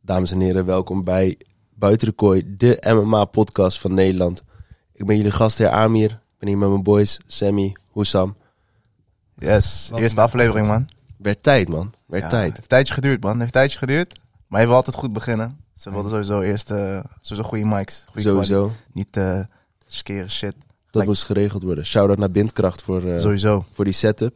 Dames en heren, welkom bij Buiten de Kooi, de MMA-podcast van Nederland. Ik ben jullie gastheer Amir. Ik ben hier met mijn boys Sammy, Hoesam. Yes, Wat eerste een- aflevering, man. Werd tijd, man. Werd Ja, tijd. Heeft tijdje geduurd, man. Heeft tijdje geduurd. Maar je wil altijd goed beginnen. Ze wilden sowieso eerst eh, sowieso goede mics. Goede Hmm. Sowieso. kwaliteit. Niet eh skere shit. Dat Like- moest geregeld worden. Shout-out naar Bindkracht voor, eh, Sowieso. voor die setup.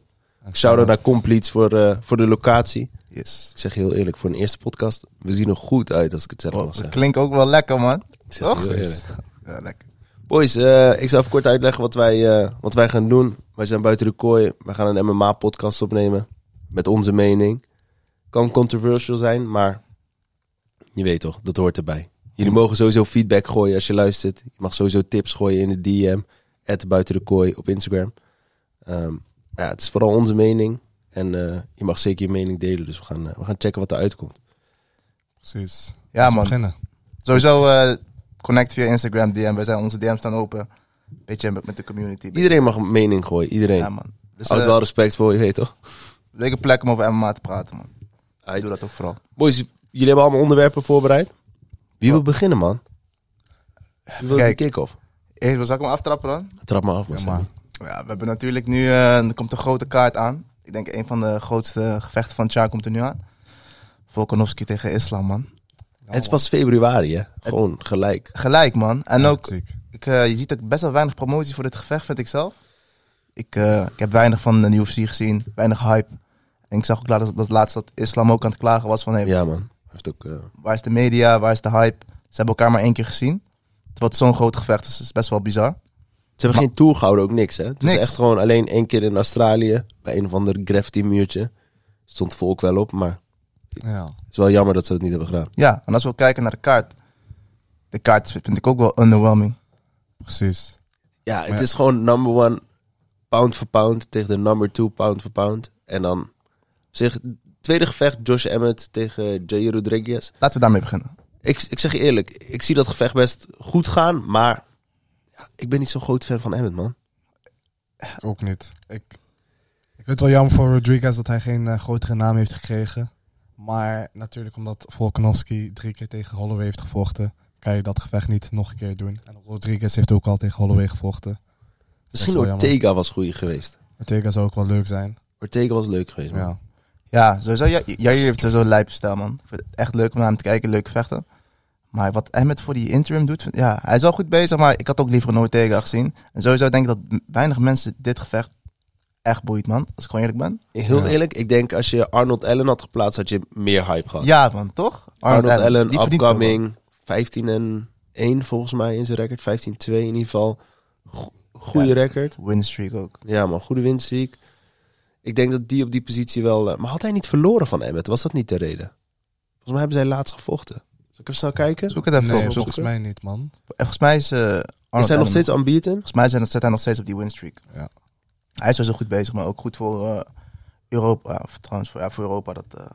Shout-out naar Compleets voor, eh, voor de locatie. Yes. Ik zeg je heel eerlijk, voor een eerste podcast, we zien er goed uit als ik het zelf Wow, mag dat zeggen. Oh, klinkt ook wel lekker, man. Ik zeg je Toch? heel eerlijk. Ja, lekker. Boys, eh, ik zal even kort uitleggen wat wij, eh, wat wij gaan doen. Wij zijn buiten de kooi. Wij gaan een MMA-podcast opnemen. Met onze mening. Kan controversial zijn, maar je weet toch, dat hoort erbij. Jullie mogen sowieso feedback gooien als je luistert. Je mag sowieso tips gooien in de DM. At buiten de kooi op Instagram. Ehm, ja, het is vooral onze mening. En eh, je mag zeker je mening delen. Dus we gaan, eh, we gaan checken wat eruit komt. Precies. Ja, Laten we man. Beginnen. Sowieso eh, connect via Instagram DM. Wij zijn, onze DM's staan open. Beetje met met de community. Iedereen mag een mening gooien. Iedereen. Ja, man. Dus Houd eh, wel respect voor, je weet toch? leuke plek om over MMA te praten, man. Dus Uit. doe dat ook vooral. Boys, jullie hebben allemaal onderwerpen voorbereid. Wie wil Wat? beginnen, man? Wie wil de kijken. kick-off? Eerst, wil- zal ik hem aftrappen dan? Trap me af, man. Ja, Sammy. maar. Ja, we hebben natuurlijk nu, eh, er komt een grote kaart aan. Ik denk een van de grootste gevechten van het jaar komt er nu aan. Volkanovski tegen Islam, man. het is pas februari, hè? Gewoon gelijk. Gelijk, man. En Ja, ook, ziek. ik, eh, je ziet ook best wel weinig promotie voor dit gevecht, vind ik zelf. Ik, eh, ik heb weinig van de UFC gezien, weinig hype. En ik zag ook laatst, dat laatst dat Islam ook aan het klagen was van... Hey, Ja, man. Heeft ook, eh, Waar is de media, waar is de hype? Ze hebben elkaar maar één keer gezien. Terwijl het zo'n groot gevecht is, is best wel bizar. Ze hebben geen tour gehouden, ook niks, hè? Het is Niks. echt gewoon alleen één keer in Australië. Bij een of ander graffiti-muurtje. Stond volk wel op, maar Ja. het is wel jammer dat ze dat niet hebben gedaan. Ja, en als we kijken naar de kaart. De kaart vind ik ook wel underwhelming. Precies. Ja, het ja. is gewoon number one pound for pound tegen de number two pound for pound. En dan op zich, tweede gevecht Josh Emmett tegen Jair Rodriguez. Laten we daarmee beginnen. Ik, ik zeg je eerlijk, ik zie dat gevecht best goed gaan, maar ja, ik ben niet zo'n groot fan van Emmet, man. Ik ook niet. Ik, ik vind het wel jammer voor Rodriguez dat hij geen eh, grotere naam heeft gekregen. Maar natuurlijk omdat Volkanovski drie keer tegen Holloway heeft gevochten, kan je dat gevecht niet nog een keer doen. En Rodriguez heeft ook al tegen Holloway gevochten. Misschien wel Ortega was goed geweest. Ortega zou ook wel leuk zijn. Ortega was leuk geweest, man. Ja. Ja, sowieso. Ja, jij heeft sowieso een lijpe stijl, man. Ik vind het echt leuk om naar hem te kijken. Leuk vechten. Maar wat Emmet voor die interim doet... vind- Ja, hij is wel goed bezig, maar ik had ook liever een Ortega gezien. En sowieso denk ik dat m- weinig mensen dit gevecht echt boeit, man. Als ik gewoon eerlijk ben. Heel Ja. eerlijk, ik denk als je Arnold Allen had geplaatst, had je meer hype gehad. Ja, man, toch? Arnold, Allen, Allen, die verdient wel, man. upcoming, 15 en 1 volgens mij in zijn record, 15 2 in ieder geval. Go- Goede Ja. record. Win streak ook. Ja, man, goede winstziek. Ik denk dat die op die positie wel... eh, maar had hij niet verloren van Emmet? Was dat niet de reden? Volgens mij hebben zij laatst gevochten. Zal ik even snel kijken? Zoek het even Nee, op. volgens mij niet, man. En Volgens mij is eh, Arnold Is hij Allen- nog steeds unbeaten? Volgens mij zijn, zit hij nog steeds op die win streak. Ja. Hij is sowieso goed bezig, maar ook goed voor eh, Europa. Of trouwens, voor, ja, voor Europa. Dat, eh,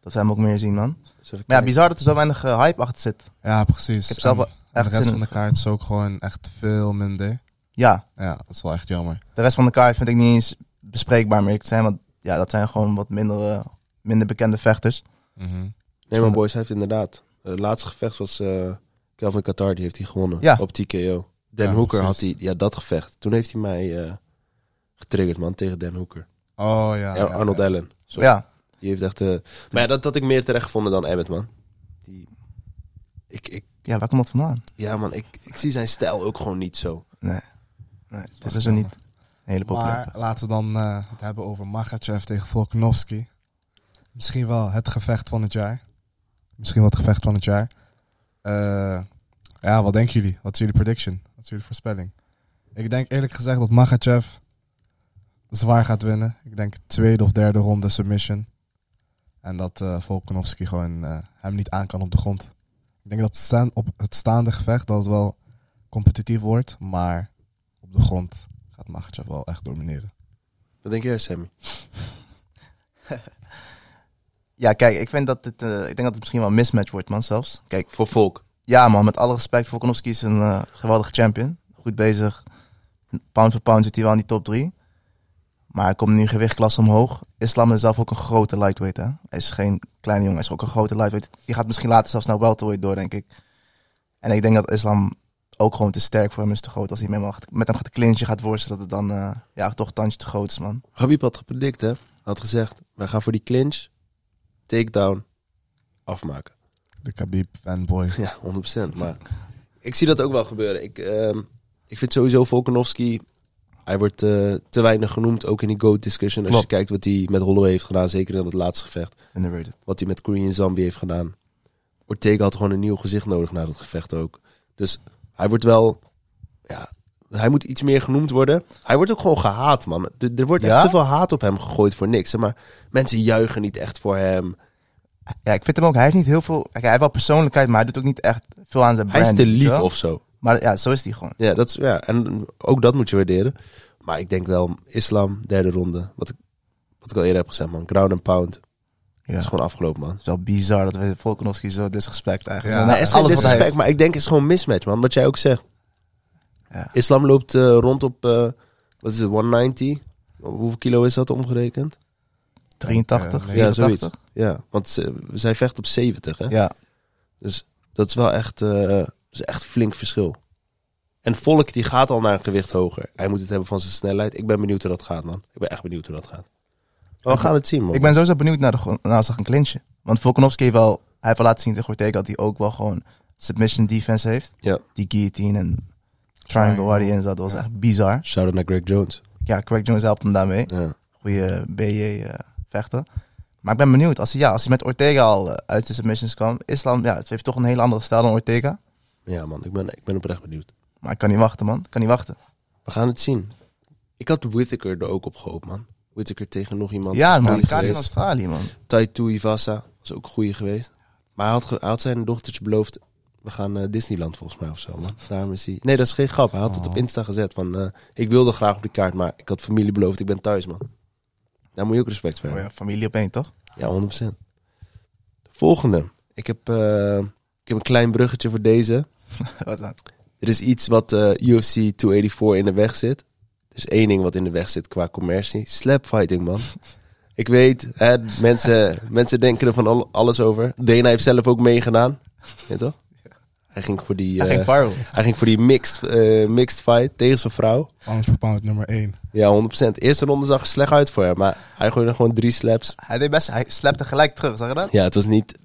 dat we hem ook meer zien, man. Maar ja, bizar dat er zo weinig eh, hype achter zit. Ja, precies. Ik heb zelf En- wel en echt de rest zin van in. de kaart is ook gewoon echt veel minder. Ja, Ja, dat is wel echt jammer. de rest van de kaart vind ik niet eens bespreekbaar meer. Het zijn, wat, ja, dat zijn gewoon wat minder, eh, minder bekende vechters. Mhm. Nee, maar boys, hij heeft inderdaad. Het laatste gevecht was eh Kelvin Qatar, die heeft hij gewonnen Ja. op TKO. Dan Ja, Hooker had precies. hij, ja, dat gevecht. Toen heeft hij mij eh, getriggerd, man, tegen Dan Hooker. Oh ja. Ja, ja, Arnold ja. Allen. Zo, Ja, Die heeft echt... eh, maar ja, dat had ik meer terecht gevonden dan Abbott, man. Die, ik, ik, ja, waar komt dat vandaan? ja, man, ik, ik zie zijn stijl ook gewoon niet zo. Nee, nee het is is sowieso niet een hele populaire. Maar laten we dan eh, het hebben over Magachev tegen Volkanovski. Misschien wel het gevecht van het jaar. Misschien wel het gevecht van het jaar. Eh, ja, wat denken jullie? Wat is jullie prediction? Wat is jullie voorspelling? Ik denk eerlijk gezegd dat Magachev zwaar gaat winnen. Ik denk tweede of derde ronde submission. En dat eh Volkanovski gewoon eh, hem niet aan kan op de grond. Ik denk dat staan, op het staande gevecht dat het wel competitief wordt. Maar op de grond gaat Magachev wel echt domineren. Wat denk jij, Sammy? Ja, kijk, ik, vind dat dit, eh, ik denk dat het misschien wel een mismatch wordt, man, zelfs. Kijk, Voor Volk. Ja, man, met alle respect. Volkanovski is een eh, geweldige champion. Goed bezig. Pound for pound zit hij wel in die top 3. Maar hij komt nu in gewichtklasse omhoog. Islam is zelf ook een grote lightweight. Hè? Hij is geen kleine jongen, hij is ook een grote lightweight. Die gaat misschien later zelfs naar welterweight door, denk ik. En ik denk dat Islam ook gewoon te sterk voor hem is, te groot. Als hij met hem gaat, met hem gaat clinchen, gaat worstelen, dat het dan eh, ja, toch een tandje te groot is, man. Gabib had gepredikt, hè? Hij had gezegd, wij gaan voor die clinch, takedown, afmaken. De Khabib fanboy. Ja, 100%. Maar ik zie dat ook wel gebeuren. Ik, ehm, ik vind sowieso Volkanovski, hij wordt eh, te weinig genoemd, ook in die GOAT-discussion. Als Klopt. je kijkt wat hij met Holloway heeft gedaan, zeker in dat laatste gevecht. Underrated. Wat hij met Korean Zombie heeft gedaan. Ortega had gewoon een nieuw gezicht nodig na dat gevecht ook. Dus hij wordt wel... Ja, hij moet iets meer genoemd worden. Hij wordt ook gewoon gehaat, man. Er, er wordt Ja? echt te veel haat op hem gegooid voor niks. hè. Maar mensen juichen niet echt voor hem. Ja, ik vind hem ook, hij heeft niet heel veel... Kijk, hij heeft wel persoonlijkheid, maar hij doet ook niet echt veel aan zijn Hij brand. is te weet je lief wel? of zo. Maar ja, zo is hij gewoon. Ja, dat is, ja, en ook dat moet je waarderen. Maar ik denk wel, islam, derde ronde. Wat ik, wat ik al eerder heb gezegd, man. Ground and pound. Ja. Dat is Het gewoon afgelopen, man. is wel bizar dat we Volkanovski zo disrespect eigenlijk. Ja. Nou, Nee, is alles geen wat hij disrespect, maar ik denk het is gewoon mismatch, man. Wat jij ook zegt. Ja. Islam loopt eh, rond op, eh, wat is het, 190? Hoeveel kilo is dat omgerekend? heeft, 83, Ja, 84. zoiets. Ja, want ze, zij vecht op 70, hè? Ja, Dus dat is wel echt, eh, dat is echt flink verschil. En Volk die gaat al naar een gewicht hoger. Hij moet het hebben van zijn snelheid. Ik ben benieuwd hoe dat gaat, man. Ik ben echt benieuwd hoe dat gaat. Maar we gaan het zien, man. Oh, ik ben sowieso benieuwd naar, de, gro- naar als ze gaan clinchen. Want Volkanovski heeft wel, hij heeft wel laten zien tegen Ortega dat hij ook wel gewoon submission defense heeft. Ja. Die guillotine en triangle waar hij in zat, dat was Ja. echt bizar. Shout-out naar Greg Jones. Ja, Craig Jones helpt hem daarmee. Ja. Goede BJ eh vechten. Maar ik ben benieuwd, als hij, ja, als hij met Ortega al eh, uit de submissions kwam, Islam ja, het heeft toch een hele andere stijl dan Ortega. ja, man. Ik ben, ik ben oprecht benieuwd. Maar ik kan niet wachten, man. Ik kan niet wachten. We gaan het zien. Ik had Whittaker er ook op gehoopt, man. Whittaker tegen nog iemand. ja, is man. moeilijk Ik ga in geweest. Australië, man. Taito Ivasa was ook een goeie geweest. Maar hij had, ge- hij had zijn dochtertje beloofd... We gaan eh, Disneyland volgens mij of zo, man. Daarom is hij... Nee, dat is geen grap. Hij had het op Insta gezet van... eh, ik wilde graag op die kaart, maar ik had familie beloofd. Ik ben thuis, man. Daar moet je ook respect voor Oh hebben. ja, familie op één, toch? Ja, 100%. Volgende. Ik heb, eh, ik heb een klein bruggetje voor deze. Wat dan? Er is iets wat eh, UFC 284 in de weg zit. Er is één ding wat in de weg zit qua commercie. Slapfighting, man. Ik weet, hè, mensen, mensen denken er van al- alles over. Dana heeft zelf ook meegedaan. Ja, toch? Hij ging voor die, Hij eh, ging viral. hij ging voor die mixed, eh, mixed fight tegen zijn vrouw. Pound for pound nummer 1. Ja, 100%. Eerste ronde zag er slecht uit voor hem. Maar hij gooide gewoon drie slaps. Hij deed best, hij slapte gelijk terug, zag je dat? Ja, het was niet...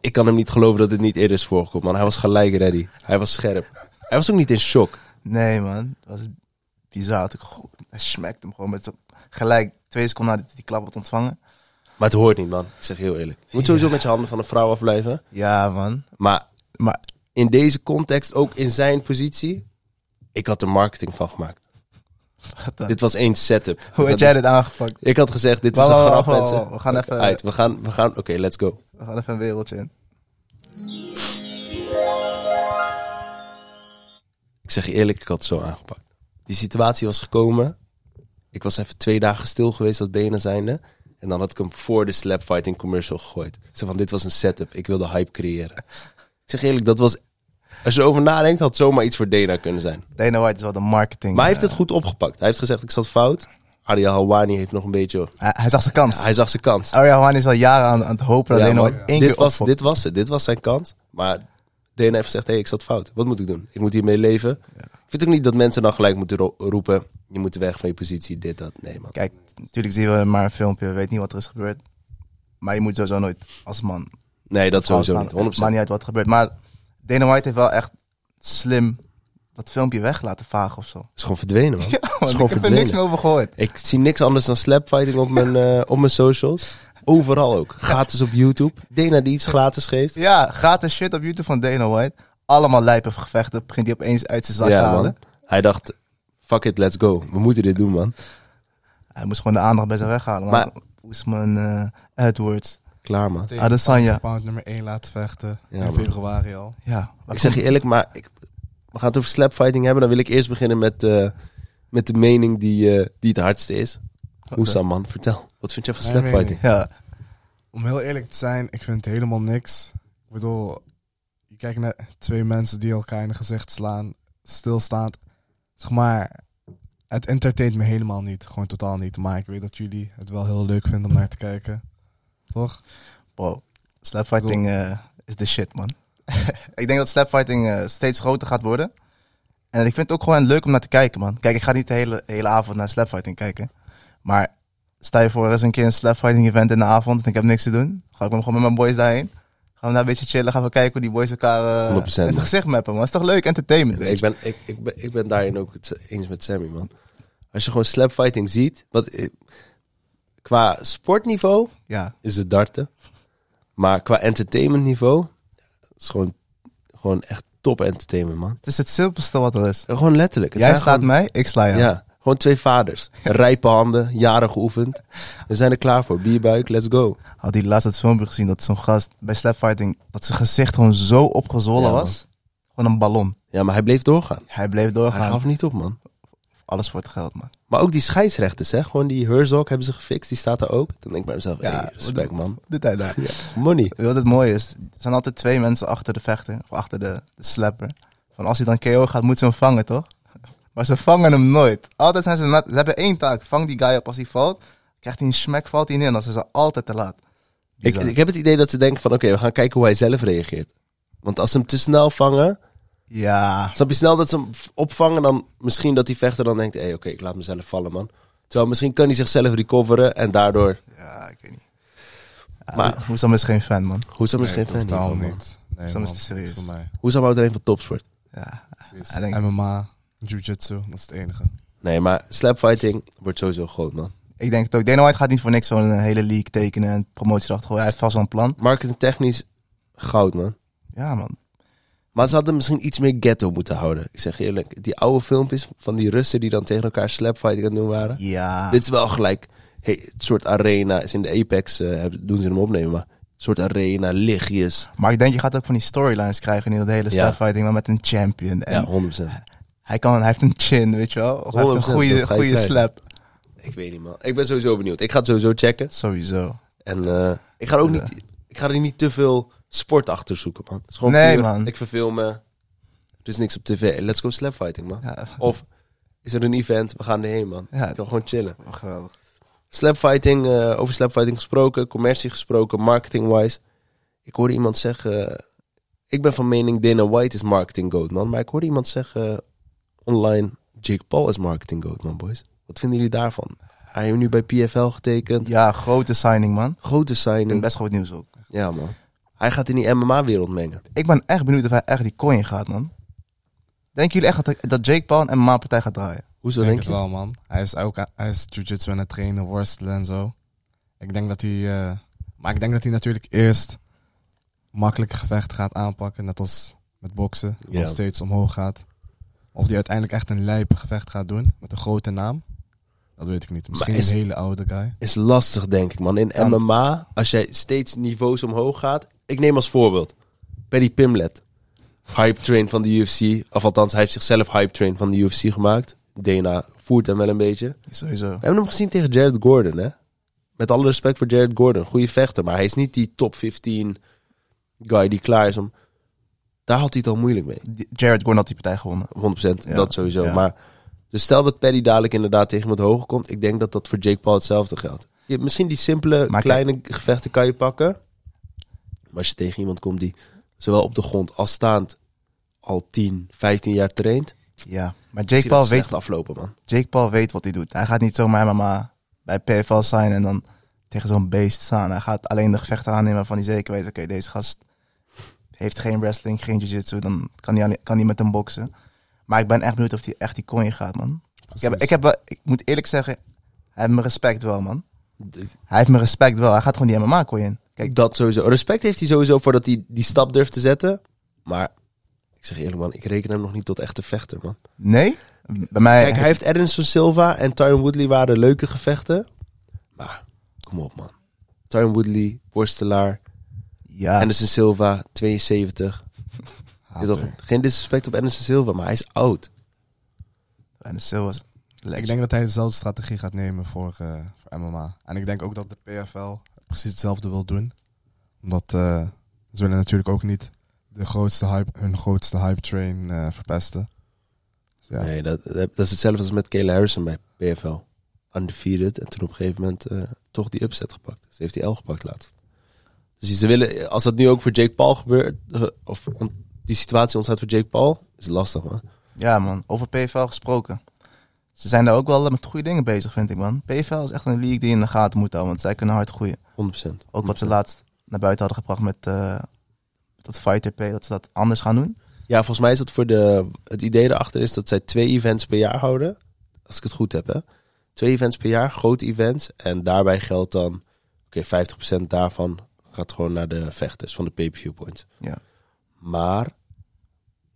Ik kan hem niet geloven dat dit niet eerder is voorgekomen, man. Hij was gelijk ready. Hij was scherp. Hij was ook niet in shock. Nee, man. Dat was bizar. Dat ik, go- hij smekte hem gewoon met zo, gelijk twee seconden nadat hij die klap had ontvangen. Maar het hoort niet, man. Ik zeg heel eerlijk. Je moet sowieso met je handen van een vrouw afblijven. Ja, man. Maar Maar in deze context, ook in zijn positie, ik had er marketing van gemaakt. wat dan? Dit was één setup. Hoe had jij dit aangepakt? Ik had gezegd, dit is Wacht, een wacht, grap, wacht, mensen. wacht, we gaan even- Uit, we gaan, we gaan... Oké, let's go. We gaan even een wereldje in. Ik zeg je eerlijk, ik had het zo aangepakt. Die situatie was gekomen. Ik was even twee dagen stil geweest als Dena zijnde. En dan had ik hem voor de slapfighting commercial gegooid. Ik zeg van, dit was een setup. Ik wilde hype creëren. Ik zeg je eerlijk, dat was... Als je erover nadenkt, had zomaar iets voor Dena kunnen zijn. Dana White is wel de marketing. Maar hij heeft eh, het goed opgepakt. Hij heeft gezegd, ik zat fout. Ariel Hawani heeft nog een beetje... hij, hij zag zijn kans. Hij zag zijn kans. Arya Hawani is al jaren aan, aan het hopen dat Ja, Dana man. White één dit, keer was, opfokt. dit was het. Dit was zijn kans. Maar Dana heeft gezegd, hey, ik zat fout. Wat moet ik doen? Ik moet hiermee leven. Ik vind ook niet dat mensen dan gelijk moeten ro- roepen... je moet weg van je positie, dit, dat. Nee, man. Kijk, natuurlijk zien we maar een filmpje. We weten niet wat er is gebeurd. Maar je moet sowieso nooit als man Nee, dat sowieso Alles niet. aan- 100%. Maakt niet uit wat er gebeurt. Maar Dana White heeft wel echt slim dat filmpje weg laten vagen of zo. is gewoon verdwenen, man. Ja, is want gewoon ik heb er niks meer over gehoord. Ik zie niks anders dan slapfighting op mijn, eh, op mijn socials. Overal ook. Gratis op YouTube. Dana die iets gratis geeft. Ja, gratis shit op YouTube van Dana White. Allemaal lijpe gevechten. Begint hij opeens uit zijn zak te Ja, man. halen. Hij dacht, fuck it, let's go. We moeten dit doen, man. Hij moest gewoon de aandacht bij zich weghalen. Maar Maar- Oesman, eh, Edwards, Klaar, man. Ah, Adesanya. Pound nummer 1 laten vechten. Ja, in man. februari al. Ja, waar Ik zeg je eerlijk, maar ik, we gaan het over slapfighting hebben. Dan wil ik eerst beginnen met, eh, met de mening die, eh, die het hardste is. komt- Hoesam, man, vertel. Wat vind jij van Mijn slapfighting? Ja, Om heel eerlijk te zijn, ik vind het helemaal niks. Ik bedoel, je kijkt naar twee mensen die elkaar in het gezicht slaan, stilstaand. Zeg maar, Het entertaint me helemaal niet. Gewoon totaal niet. Maar ik weet dat jullie het wel heel leuk vinden om naar te kijken. Toch? Bro, slapfighting eh, is de shit, man. ik denk dat slapfighting eh, steeds groter gaat worden. En ik vind het ook gewoon leuk om naar te kijken, man. Kijk, ik ga niet de hele, hele avond naar slapfighting kijken. Maar stel je voor, er is een keer een slapfighting event in de avond en ik heb niks te doen. Ga ik hem gewoon met mijn boys daarheen. Gaan we daar een beetje chillen, gaan we kijken hoe die boys elkaar eh 100% in het man. gezicht mappen, man. is toch leuk, entertainment, weet Ik je. ben, ik, ik, ben, ik ben daarin ook het eens met Sammy, man. Als je gewoon slapfighting ziet... Wat, eh, qua sportniveau Ja, is het darten. Maar qua entertainmentniveau... is gewoon, gewoon echt top entertainment, man. het is het simpelste wat er is. Gewoon letterlijk. Het Jij zijn slaat gewoon- mij, ik sla jou. Ja, gewoon twee vaders. Rijpe handen, jaren geoefend. We zijn er klaar voor. Bierbuik, let's go. Had die laatst het filmpje gezien dat zo'n gast bij slapfighting, dat zijn gezicht gewoon zo opgezwollen Ja, man. was. Gewoon een ballon. Ja, maar hij bleef doorgaan. Hij bleef Hij doorgaan. gaf niet op, man. Alles voor het geld, man. Maar ook die scheidsrechters, hè. Gewoon die Herzog hebben ze gefixt. Die staat er ook. Dan denk ik bij mezelf, Ja, hey, respect, man. Doet hij daar. Money. Wat het mooie is, er zijn altijd twee mensen achter de vechter, of achter de, de slapper. Van als hij dan KO gaat, moet ze hem vangen, toch? Maar ze vangen hem nooit. Altijd zijn ze, na- ze hebben één taak. Vang die guy op als hij valt. Krijgt hij een smack, valt hij neer. Dan zijn ze altijd te laat. Ik, Bizar. ik heb het idee dat ze denken van, oké, we gaan kijken hoe hij zelf reageert. Want als ze hem te snel vangen, Ja. snap je snel dat ze hem v- opvangen, dan misschien dat die vechter dan denkt, hé, hey, oké, ik laat mezelf vallen, man. Terwijl misschien kan hij zichzelf recoveren en daardoor... Ja, ik weet niet. Maar- maar Hoesam is geen fan, man. Hoe zou Nee, misschien fan totaal hiervan, man? niet. Nee, Sam is man, te serieus. dat is voor mij. Hoe zou houdt alleen van topsport? Ja. Precies. Hij denkt- MMA, jiu-jitsu, dat is het enige. Nee, maar slapfighting wordt sowieso groot, man. Ik denk het ook. Dana White gaat niet voor niks zo'n eh, hele league tekenen en promotiedag gooien. Hij heeft vast wel een plan. Marketingtechnisch goud, man. Ja, man. Maar ze hadden misschien iets meer ghetto moeten houden. Ik zeg je eerlijk, die oude filmpjes van die Russen die dan tegen elkaar slapfighting aan het doen waren. Ja. Dit is wel gelijk, hey, het soort arena. Is in de Apex eh, hebben- doen ze hem opnemen, maar het soort arena, lichtjes. Maar ik denk, je gaat ook van die storylines krijgen in dat hele Ja. starfighting, maar met een champion. En Ja, 100%. hij, kan, hij heeft een chin, weet je wel. Of hij heeft 100%, een dat goede, ga je goede krijgen. slap. Ik weet niet, man. Ik ben sowieso benieuwd. Ik ga het sowieso checken. Sowieso. En eh, ik ga er ook Ja. niet, ik ga er niet te veel sport achter zoeken, man. Het is gewoon Nee, puur, man. Ik verveel me. Er is niks op tv. Let's go slapfighting, man. Ja, Of is er een event? We gaan erheen, man. ja Ik kan gewoon chillen. geweldig. Slapfighting, eh, over slapfighting gesproken, commercie gesproken, marketing-wise. Ik hoorde iemand zeggen... eh, ik ben van mening Dana White is marketing goat, man. Maar ik hoorde iemand zeggen eh, online... Jake Paul is marketing goat, man, boys. Wat vinden jullie daarvan? Hij heeft nu bij PFL getekend. Ja, grote signing, man. Grote Ik vind signing. best goed nieuws ook. Ja, man. Hij gaat in die MMA-wereld mengen. Ik ben echt benieuwd of hij echt die coin gaat, man. Denken jullie echt dat, dat Jake Paul een MMA-partij gaat draaien? Hoezo Ik denk denk het je? wel, man. Hij is ook aan- hij is jiu-jitsu aan het trainen, worstelen en zo. Ik denk dat hij... eh, maar ik denk dat hij natuurlijk eerst makkelijke gevechten gaat aanpakken. Net als met boksen. Ja. Wat steeds omhoog gaat. Of hij uiteindelijk echt een lijpe gevecht gaat doen. Met een grote naam. Dat weet ik niet. Misschien is- een hele oude guy. Is lastig, denk ik, man. In Kan. MMA, als jij steeds niveaus omhoog gaat... Ik neem als voorbeeld Paddy Pimlet. Hype train van de UFC. Of althans, hij heeft zichzelf hype train van de UFC gemaakt. Dana voert hem wel een beetje. Sowieso. We hebben hem gezien tegen Jared Gordon, hè. Met alle respect voor Jared Gordon. Goede vechter, maar hij is niet die top 15 guy die klaar is om... Daar had hij het al moeilijk mee. Die- Jared Gordon had die partij gewonnen. 100%, Ja, dat sowieso. ja. Maar dus stel dat Paddy dadelijk inderdaad tegen iemand hoger komt. Ik denk dat dat voor Jake Paul hetzelfde geldt. Je hebt misschien die simpele, Maar kijk- kleine gevechten kan je pakken. Maar als je tegen iemand komt die zowel op de grond als staand al 10, 15 jaar traint. Ja. Maar zie Jake je Paul dat weet slecht aflopen, man. Jake Paul weet wat hij doet. Hij gaat niet zomaar MMA bij PFL zijn en dan tegen zo'n beest staan. Hij gaat alleen de gevechten aannemen van die zeker weet, oké, deze gast heeft geen wrestling, geen jiu-jitsu, dan kan hij, alleen- kan hij met hem boksen. Maar ik ben echt benieuwd of hij echt die coin gaat, man. Ik, heb, ik, heb, wel- ik moet eerlijk zeggen, hij heeft mijn respect wel, man. Hij heeft mijn respect wel. Hij gaat gewoon die MMA coin in. Kijk, Kijk, dat sowieso. Respect heeft hij sowieso voordat hij die stap durft te zetten. Maar ik zeg eerlijk, man, ik reken hem nog niet tot echte vechter, man. nee? Bij mij... Kijk, hij heeft Edinson Silva en Tyron Woodley waren leuke gevechten. Maar kom op, man. Tyron Woodley, worstelaar. ja, Anderson Silva, 72. Is toch, Hater. geen disrespect op Anderson Silva, maar hij is oud. en de Sil was... Ik denk dat hij dezelfde strategie gaat nemen voor, eh, voor MMA. En ik denk ook dat de PFL precies hetzelfde wil doen. Omdat eh, ze willen natuurlijk ook niet de grootste hype, hun grootste hype train eh, verpesten. Ja. Nee, dat, dat is hetzelfde als met Kayla Harrison bij PFL. Undefeated. En toen op een gegeven moment eh, toch die upset gepakt. Ze heeft die L gepakt laatst. Dus ze willen, als dat nu ook voor Jake Paul gebeurt, eh, of on- die situatie ontstaat voor Jake Paul, is het lastig man. Ja, man. Over PFL gesproken. Ze zijn daar ook wel met goede dingen bezig, vind ik, man. PFL is echt een league die je in de gaten moet houden, want zij kunnen hard groeien. 100%. Ook wat ze laatst naar buiten hadden gebracht met eh, dat fighter pay, dat ze dat anders gaan doen. Ja, volgens mij is dat voor de. Het idee erachter is dat zij twee events per jaar houden. Als ik het goed heb, hè? Twee events per jaar, grote events. En daarbij geldt dan. Oké, 50% daarvan gaat gewoon naar de vechters van de pay-per-view points. Ja. Maar.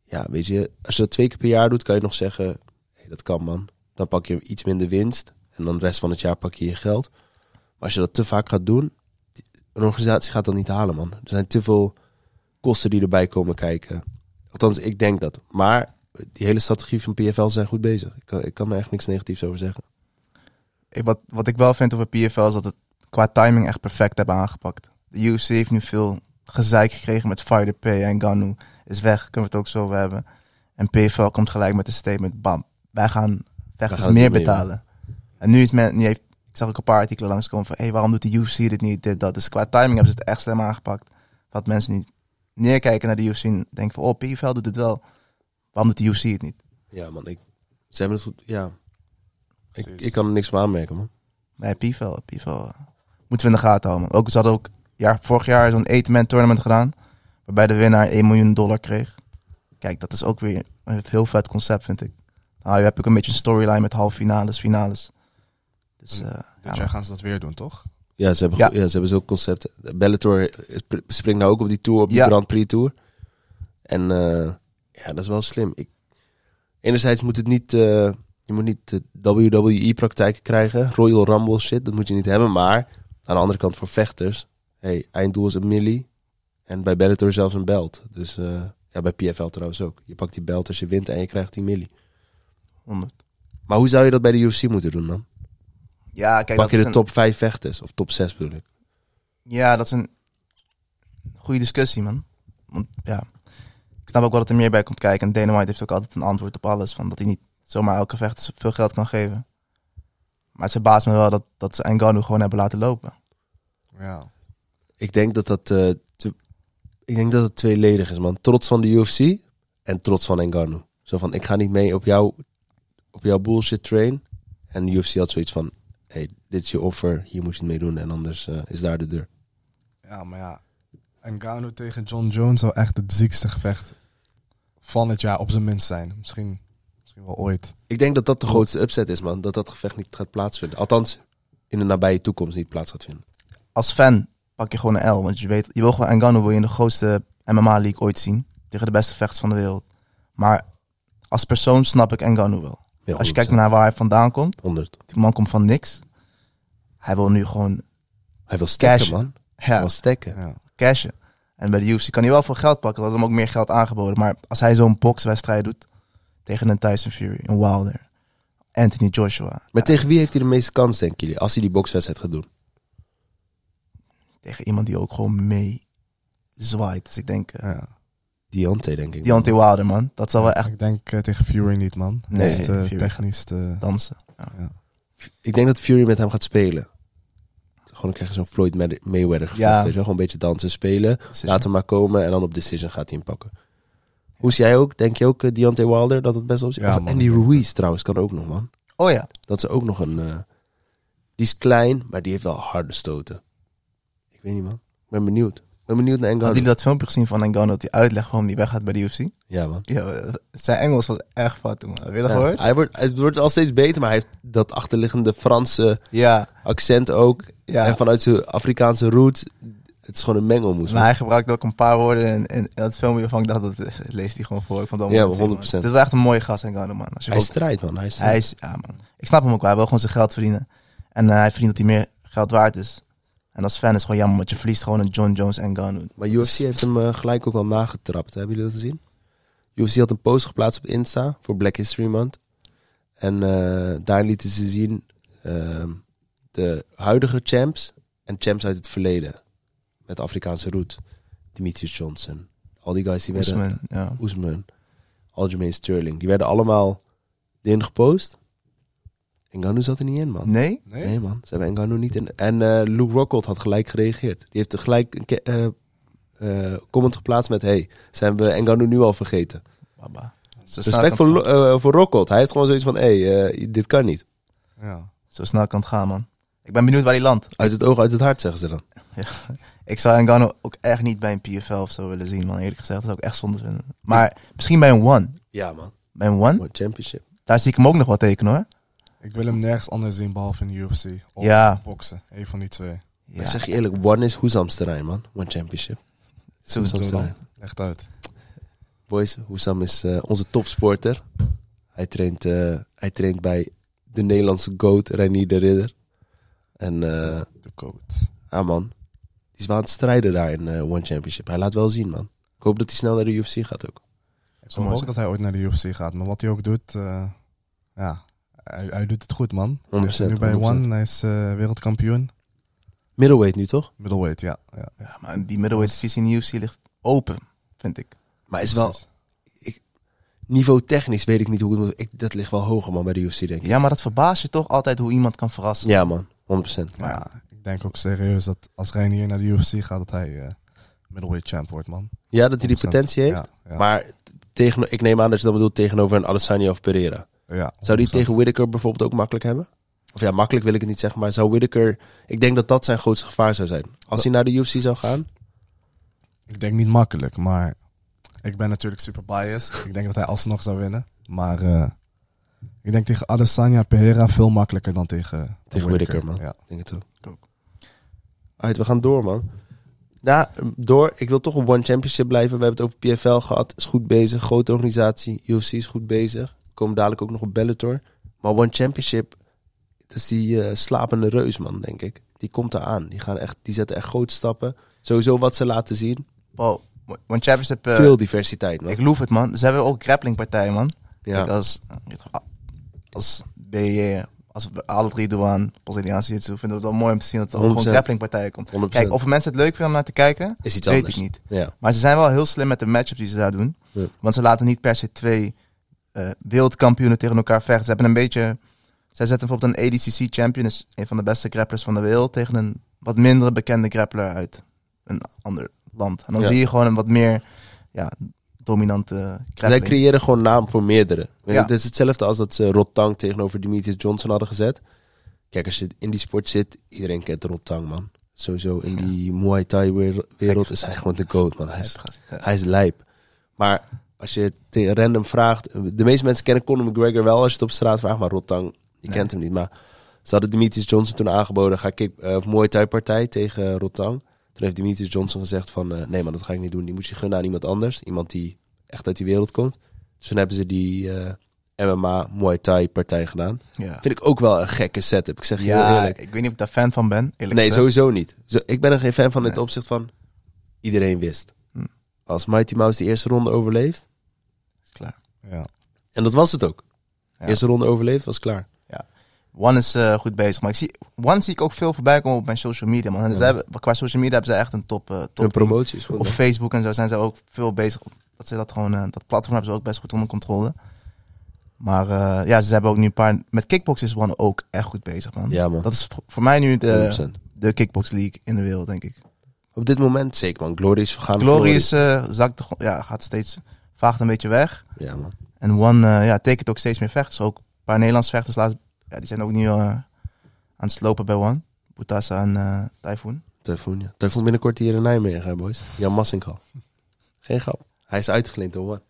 Ja, weet je, als je dat twee keer per jaar doet, kan je nog zeggen. hey, dat kan man. Dan pak je iets minder winst. En dan de rest van het jaar pak je je geld. Maar als je dat te vaak gaat doen. die- Een organisatie gaat dat niet halen, man. Er zijn te veel kosten die erbij komen kijken. Althans, ik denk dat. Maar die hele strategie van PFL zijn goed bezig. Ik kan, ik kan er echt niks negatiefs over zeggen. Ik, wat, wat ik wel vind over PFL is dat het qua timing echt perfect hebben aangepakt. De UFC heeft nu veel gezeik gekregen met fighter pay en Ganu is weg, kunnen we het ook zo over hebben. En PFL komt gelijk met een statement, bam, wij gaan vechters gaan het meer doen, ja. betalen. En nu is men, nu heeft, ik zag ook een paar artikelen langskomen van, hé, hey, waarom doet de UFC dit niet, dit, dat. Dus qua timing hebben ze het echt slim aangepakt. Wat mensen niet neerkijken naar de UFC en denken van, oh, PFL doet het wel. Waarom doet de UFC het niet? Ja, man. Ik, ze hebben het goed. Ja. Ik, Precies. ik kan er niks van aanmerken, man. Nee, PFL, PFL. eh, Moeten we in de gaten houden. man. Ook, ze hadden ook ja, vorig jaar zo'n 8-man tournament gedaan. Waarbij de winnaar 1 miljoen dollar kreeg. Kijk, dat is ook weer een heel vet concept, vind ik. Nou, je hebt ook een beetje een storyline met halve finales, finales. Dus, eh, ja, Dit jaar gaan ze dat weer doen, toch? Ja, ze hebben, Ja. goed- ja. ze hebben zulke concepten. Bellator sp- springt nou ook op die tour, op die Ja. Grand Prix Tour. En eh, ja, dat is wel slim. Ik, enerzijds moet het niet... eh, je moet niet de WWE-praktijken krijgen. Royal Rumble shit, dat moet je niet hebben. Maar aan de andere kant voor vechters... Hey, einddoel is een millie. En bij Bellator zelfs een belt. Dus eh, ja, bij PFL trouwens ook. Je pakt die belt als je wint en je krijgt die millie. 100. Maar hoe zou je dat bij de UFC moeten doen dan? ja, kijk, Pak dat je is de een- top 5 vechters? Of top 6 bedoel ik. Ja, dat is een goede discussie, man. Want ja, ik snap ook wel dat er meer bij komt kijken. En Dana White heeft ook altijd een antwoord op alles. Van dat hij niet zomaar elke vechter veel geld kan geven. Maar het verbaast me wel dat, dat ze Ngannou gewoon hebben laten lopen. Ja. Ik denk dat dat, eh, te- ik denk dat het tweeledig is, man. Trots van de UFC en trots van Ngannou. Zo van, ik ga niet mee op, jou, op jouw bullshit train. En de UFC had zoiets van, hey, dit is je offer, hier moet je het mee doen. En anders eh, is daar de deur. Ja, maar ja. Ngannou tegen John Jones zou echt het ziekste gevecht van het jaar op zijn minst zijn. Misschien, misschien wel ooit. Ik denk dat dat de grootste upset is, man. Dat dat gevecht niet gaat plaatsvinden. Althans, in de nabije toekomst niet plaats gaat vinden. Als fan pak je gewoon een L. Want je weet, je wil gewoon Ngannou wil je in de grootste MMA-league ooit zien. Tegen de beste vechters van de wereld. Maar als persoon snap ik Ngannou wel. Ja, Als je kijkt naar waar hij vandaan komt. 100. Die man komt van niks. Hij wil nu gewoon Hij wil stekken, Cash. man. Hij ja, wil stekken. Ja. cashen. En bij de UFC kan hij wel veel geld pakken. Dat is hem ook meer geld aangeboden. Maar als hij zo'n bokswedstrijd doet tegen een Tyson Fury, een Wilder, Anthony Joshua, Maar tegen wie heeft hij de meeste kans, denken jullie? Als hij die bokswedstrijd gaat doen. tegen iemand die ook gewoon mee zwaait. Dus ik denk, eh, ja. Deontay, denk ik. Deontay Wilder, man. Dat zal wel echt Ik denk eh, tegen Fury niet, man. Hij Nee, is te Fury. technisch eh, te... dansen. Ik denk dat Fury met hem gaat spelen. Gewoon dan krijg je zo'n Floyd Maywe- Mayweather gevecht. Ja. weet je wel. Gewoon een beetje dansen, spelen. Dus Laat hem maar komen en dan op Decision gaat hij hem pakken. Hoe zie jij ook? Denk je ook eh, Deontay Wilder dat het best op zit? Ja, Of man, Andy ik denk Ruiz trouwens kan ook nog, man. Oh ja, Dat is ook nog een... eh, die is klein, maar die heeft wel harde stoten. Ik weet niet, man. Ik ben benieuwd. Ik ben benieuwd naar hadden Ngannou. jullie dat filmpje gezien van Ngannou dat hij uitlegt waarom hij weggaat bij de UFC? Ja, man. Ja, zijn Engels was erg fout toen. man. Heb je dat Ja, gehoord? hij wordt, het wordt al steeds beter, maar hij heeft dat achterliggende Franse Ja, accent ook. ja. En vanuit zijn Afrikaanse roots. Het is gewoon een mengelmoes. Maar hij gebruikte ook een paar woorden in, in, in dat filmpje waarvan ik dacht, dat dat leest hij gewoon voor. Ik vond het wel Ja, mooi te zien, 100%. man. Dit is wel echt een mooie gast, Ngannou, man. Als je Hij ook- strijdt, man. Hij strijdt. hij is, ja man. Ik snap hem ook wel, hij wil gewoon zijn geld verdienen. En eh, hij verdient dat hij meer geld waard is. En als fan is het gewoon jammer, want je verliest gewoon een John Jones en Ngannou. Maar UFC heeft hem eh, gelijk ook al nagetrapt. Hebben jullie dat gezien? UFC had een post geplaatst op Insta voor Black History Month. En eh, daar lieten ze zien ehm, de huidige champs en champs uit het verleden. Met Afrikaanse route. Demetrius Johnson. Al die guys die werden... Oesman, ja. Oesman. Aljamain Sterling. Die werden allemaal Die in gepost. Ngannou zat er niet in, man. Nee? Nee? Nee, man. Ze hebben Ngannou niet in. En eh, Luke Rockhold had gelijk gereageerd. Die heeft gelijk een ke- eh, eh, comment geplaatst met... Hey, zijn we Ngannou nu al vergeten? Baba. Zo snel kan Respect het voor, gaan. Lo- eh, voor Rockhold. Hij heeft gewoon zoiets van... Hey, eh, dit kan niet. Ja. Zo snel kan het gaan, man. Ik ben benieuwd waar hij landt. Uit het oog, uit het hart, zeggen ze dan. Ik zou Ngannou ook echt niet bij een PFL of zo willen zien, man. Eerlijk gezegd, dat zou ik echt zonde vinden. Maar misschien bij een One. Ja, man. Bij een One? Mooi Hm? championship. Daar zie ik hem ook nog wat tekenen, hoor. Ik wil hem nergens anders zien behalve in de UFC. Of Ja. boksen. Eén van die twee. Maar Ik Ja. zeg je eerlijk, one is Hoesams terrein, man. One championship. Zo, Hoesams zo dan. terrein. Echt uit. Boys, Hoesam is eh, onze topsporter. Hij traint, eh, hij traint bij de Nederlandse GOAT, Reinier de Ridder. En eh, De code. ah man, die is wel aan het strijden daar in eh, One Championship. Hij laat wel zien, man. Ik hoop dat hij snel naar de UFC gaat ook. Ik Zou hoop mooi ook zijn. dat hij ooit naar de UFC gaat. Maar wat hij ook doet, eh, ja, hij, hij doet het goed, man. Hij is 100%, nu bij 100%. One, hij is eh, wereldkampioen. Middleweight nu, toch? Middleweight, ja. ja. Ja, maar die middleweight divisie in de UFC ligt open, vind ik. Maar is wel, niveau technisch weet ik niet hoe het moet. Ik, dat ligt wel hoger, man, bij de UFC, denk ik. Ja, maar dat verbaast je toch altijd hoe iemand kan verrassen. Ja, man. 100%. Maar ja, ik denk ook serieus dat als Reinier naar de UFC gaat, dat hij eh, middleweight champ wordt, man. Ja, dat hij die 100%. potentie heeft. Ja, ja. Maar tegen, ik neem aan dat je dat bedoelt tegenover een Adesanya of Pereira. Ja, Zou die 100%. tegen Whittaker bijvoorbeeld ook makkelijk hebben? Of ja, makkelijk wil ik het niet zeggen, maar zou Whittaker... Ik denk dat dat zijn grootste gevaar zou zijn. Als hij naar de UFC zou gaan. Ik denk niet makkelijk, maar ik ben natuurlijk super biased. Ik denk dat hij alsnog zou winnen. Maar eh, ik denk tegen Adesanya Pereira veel makkelijker dan tegen, eh, Tegen Whittaker, man. Ja. Ik denk het ook. Ik ook. Alright, we gaan door, man. Ja, door. Ik wil toch op One Championship blijven. We hebben het over PFL gehad. Is goed bezig. Grote organisatie. UFC is goed bezig. We komen dadelijk ook nog op Bellator. Maar One Championship, dat is die eh, slapende reus, man, denk ik. Die komt eraan. Die, gaan echt, die zetten echt grote stappen. Sowieso wat ze laten zien. Wow, want Championship... eh, Veel diversiteit, man. ik loef het, man. Ze hebben ook grapplingpartijen, man. ja. Kijk, als, als BJ, als we alle drie doen, Braziliaanse jiu vinden we het wel mooi om te zien dat er ook gewoon 100%. grapplingpartijen komt. 100%. Kijk, of mensen het leuk vinden om naar te kijken, is iets weet anders. ik niet. Ja. Maar ze zijn wel heel slim met de matchups die ze daar doen. Ja. Want ze laten niet per se twee eh, wereldkampioenen tegen elkaar vechten. Ze hebben een beetje... Zij zetten bijvoorbeeld een ADCC champion, dus een van de beste grapplers van de wereld, tegen een wat minder bekende grappler uit een ander land. En dan Ja. zie je gewoon een wat meer ja, dominante Zij grappler. creëren gewoon naam voor meerdere. Weet je, Ja. Het is hetzelfde als dat ze Rod Tang tegenover Demetrius Johnson hadden gezet. Kijk, als je in die sport zit, iedereen kent Rod Tang, man. Sowieso in die Muay Thai wer- wereld is hij gewoon de goat, man. Hij is, hij is lijp. Maar als je het te- random vraagt... De meeste mensen kennen Conor McGregor wel als je het op straat vraagt. Maar Rod Tang, je Nee. kent hem niet. Maar ze hadden Demetrius Johnson toen aangeboden... Ga kick, eh, of Muay Thai partij tegen eh, Rod Tang. Toen heeft Demetrius Johnson gezegd van... eh, nee, maar dat ga ik niet doen. Die moet je gunnen aan iemand anders. Iemand die echt uit die wereld komt. Dus toen hebben ze die eh, MMA Muay Thai partij gedaan. Ja. Vind ik ook wel een gekke setup. Ik zeg je heel Ja, eerlijk. ik weet niet of ik daar fan van ben. Eerlijk Nee, gezegd. sowieso niet. Zo, ik ben er geen fan van in het Nee. opzicht van iedereen wist. Hm. Als Mighty Mouse de eerste ronde overleeft, Is klaar. Ja. en dat was het ook. Ja. Eerste ronde overleefd, was klaar. One is eh, goed bezig. Maar ik zie, One zie ik ook veel voorbij komen op mijn social media. Man. En Ja. ze hebben, qua social media hebben ze echt een top. eh, top Een team. promotie is goed. Op man. Facebook en zo zijn ze ook veel bezig. Dat, ze dat, gewoon, eh, dat platform hebben ze ook best goed onder controle. Maar eh, ja, ze hebben ook nu een paar... Met kickbox is One ook echt goed bezig, man. Ja, man. Dat eh, is voor- voor mij nu de, 100%. de kickbox league in de wereld, denk ik. Op dit moment zeker, man. Glory is vergaan. Glory is, eh, zakt, de gro- ja, gaat steeds... Vaagt een beetje weg. Ja, man. En One eh, ja, tekent ook steeds meer vechters. Ook een paar Nederlandse vechters laatst, ja, die zijn ook nu eh, aan het slopen bij One. Boutassa en eh Typhoon. Typhoon, ja. Typhoon binnenkort hier in Nijmegen, hè, boys. Jan Massinghal. Geen grap. Hij is uitgeleend, hoor, man.